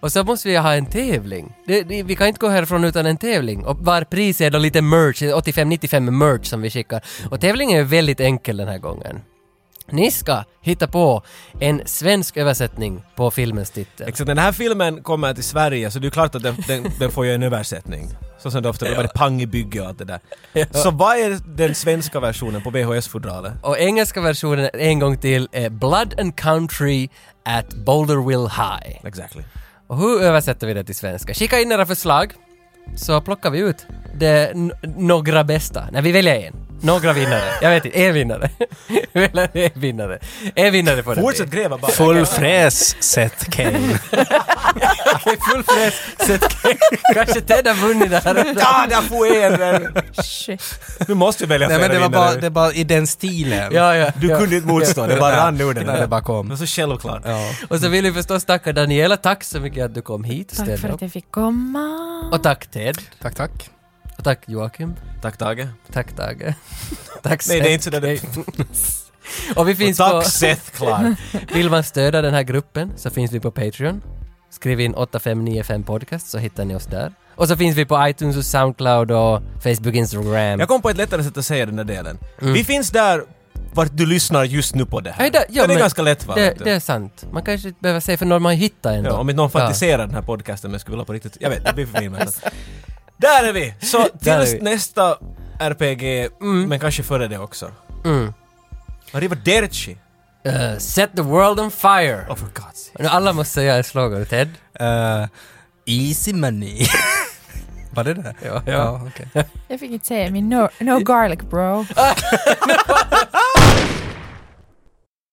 S4: Och så måste vi ha en tävling. Det, det, vi kan inte gå härifrån utan en tävling. Och var pris är då lite merch, 85-95 merch som vi skickar. Och tävlingen är väldigt enkel den här gången. Ni ska hitta på en svensk översättning på filmens titel.
S1: Exakt, den här filmen kommer till Sverige så det är klart att den, den, den får ju en översättning. Så som det ofta blir, det pang i bygge och allt det där. Så vad är den svenska versionen på VHS-fodralet?
S4: Och engelska versionen en gång till är Blood and Country at Boulderville High.
S1: Exactly.
S4: Och hur översätter vi det till svenska? Skicka in era förslag så plockar vi ut det n- några bästa. Nej, vi väljer en. Några vinnare. Jag vet inte, en vinnare. [laughs] Vi väljer en vinnare. En vinnare får det bli.
S1: Fortsätt gräva bara.
S2: Full fräs, Seth Kane.
S4: Okej, full fräs. Sätt- [laughs] Kanske Ted har
S1: [laughs]
S4: vunnit det här.
S1: [laughs] Ja, där får er!
S3: Shit.
S1: Nu måste vi välja
S2: Nej men det var
S1: flera
S2: bara,
S1: vinnare.
S2: det var i den stilen.
S4: Ja, ja.
S1: Du
S4: ja.
S1: kunde inte motstå, det bara rann ur den.
S2: När det bara
S1: Det
S2: kom.
S1: var så självklart.
S2: Ja.
S4: Och så vill vi förstås tacka Daniela. Tack så mycket att du kom hit och
S3: Tack för
S4: ställde
S3: att
S4: upp.
S3: jag fick komma.
S4: Och tack Ted.
S2: Tack, tack.
S4: Och tack Joakim.
S1: Tack Tage.
S4: Tack Tage. [laughs] Tack
S1: Nej, det är
S4: Seth.
S1: inte så där det...
S4: [laughs] Och vi finns
S1: Och
S4: på...
S1: tack Seth
S4: [laughs]
S1: Clark.
S4: Vill man stödja den här gruppen så finns vi på Patreon. Skriv in 8595 podcast så hittar ni oss där. Och så finns vi på iTunes och Soundcloud och Facebook, Instagram. Mm.
S1: Jag kom på ett lättare sätt att säga den där delen. Vi finns där vart du lyssnar just nu på det här.
S4: Nej, det- ja,
S1: det är
S4: men-
S1: ganska lätt va?
S4: det,
S1: vet du?
S4: det är sant. Man kanske inte behöver säga för någon man hittar ändå.
S1: Ja, om inte någon fantiserar den här podcasten men skulle vilja på riktigt. Jag vet, det blir för
S4: [laughs]
S1: finmässigt. Där är vi! Så
S4: Där är
S1: tills
S4: vi.
S1: nästa RPG, men kanske före det också.
S4: Mm.
S1: Arrivederci!
S4: Eh, set the world on fire!
S1: Oh for God's sake.
S4: Nu alla måste säga ett slagord. Ted?
S2: Eh, easy money. [laughs] var det det?
S4: Ja,
S2: Ja, okej.
S3: Jag fick inte säga min no, no garlic bro.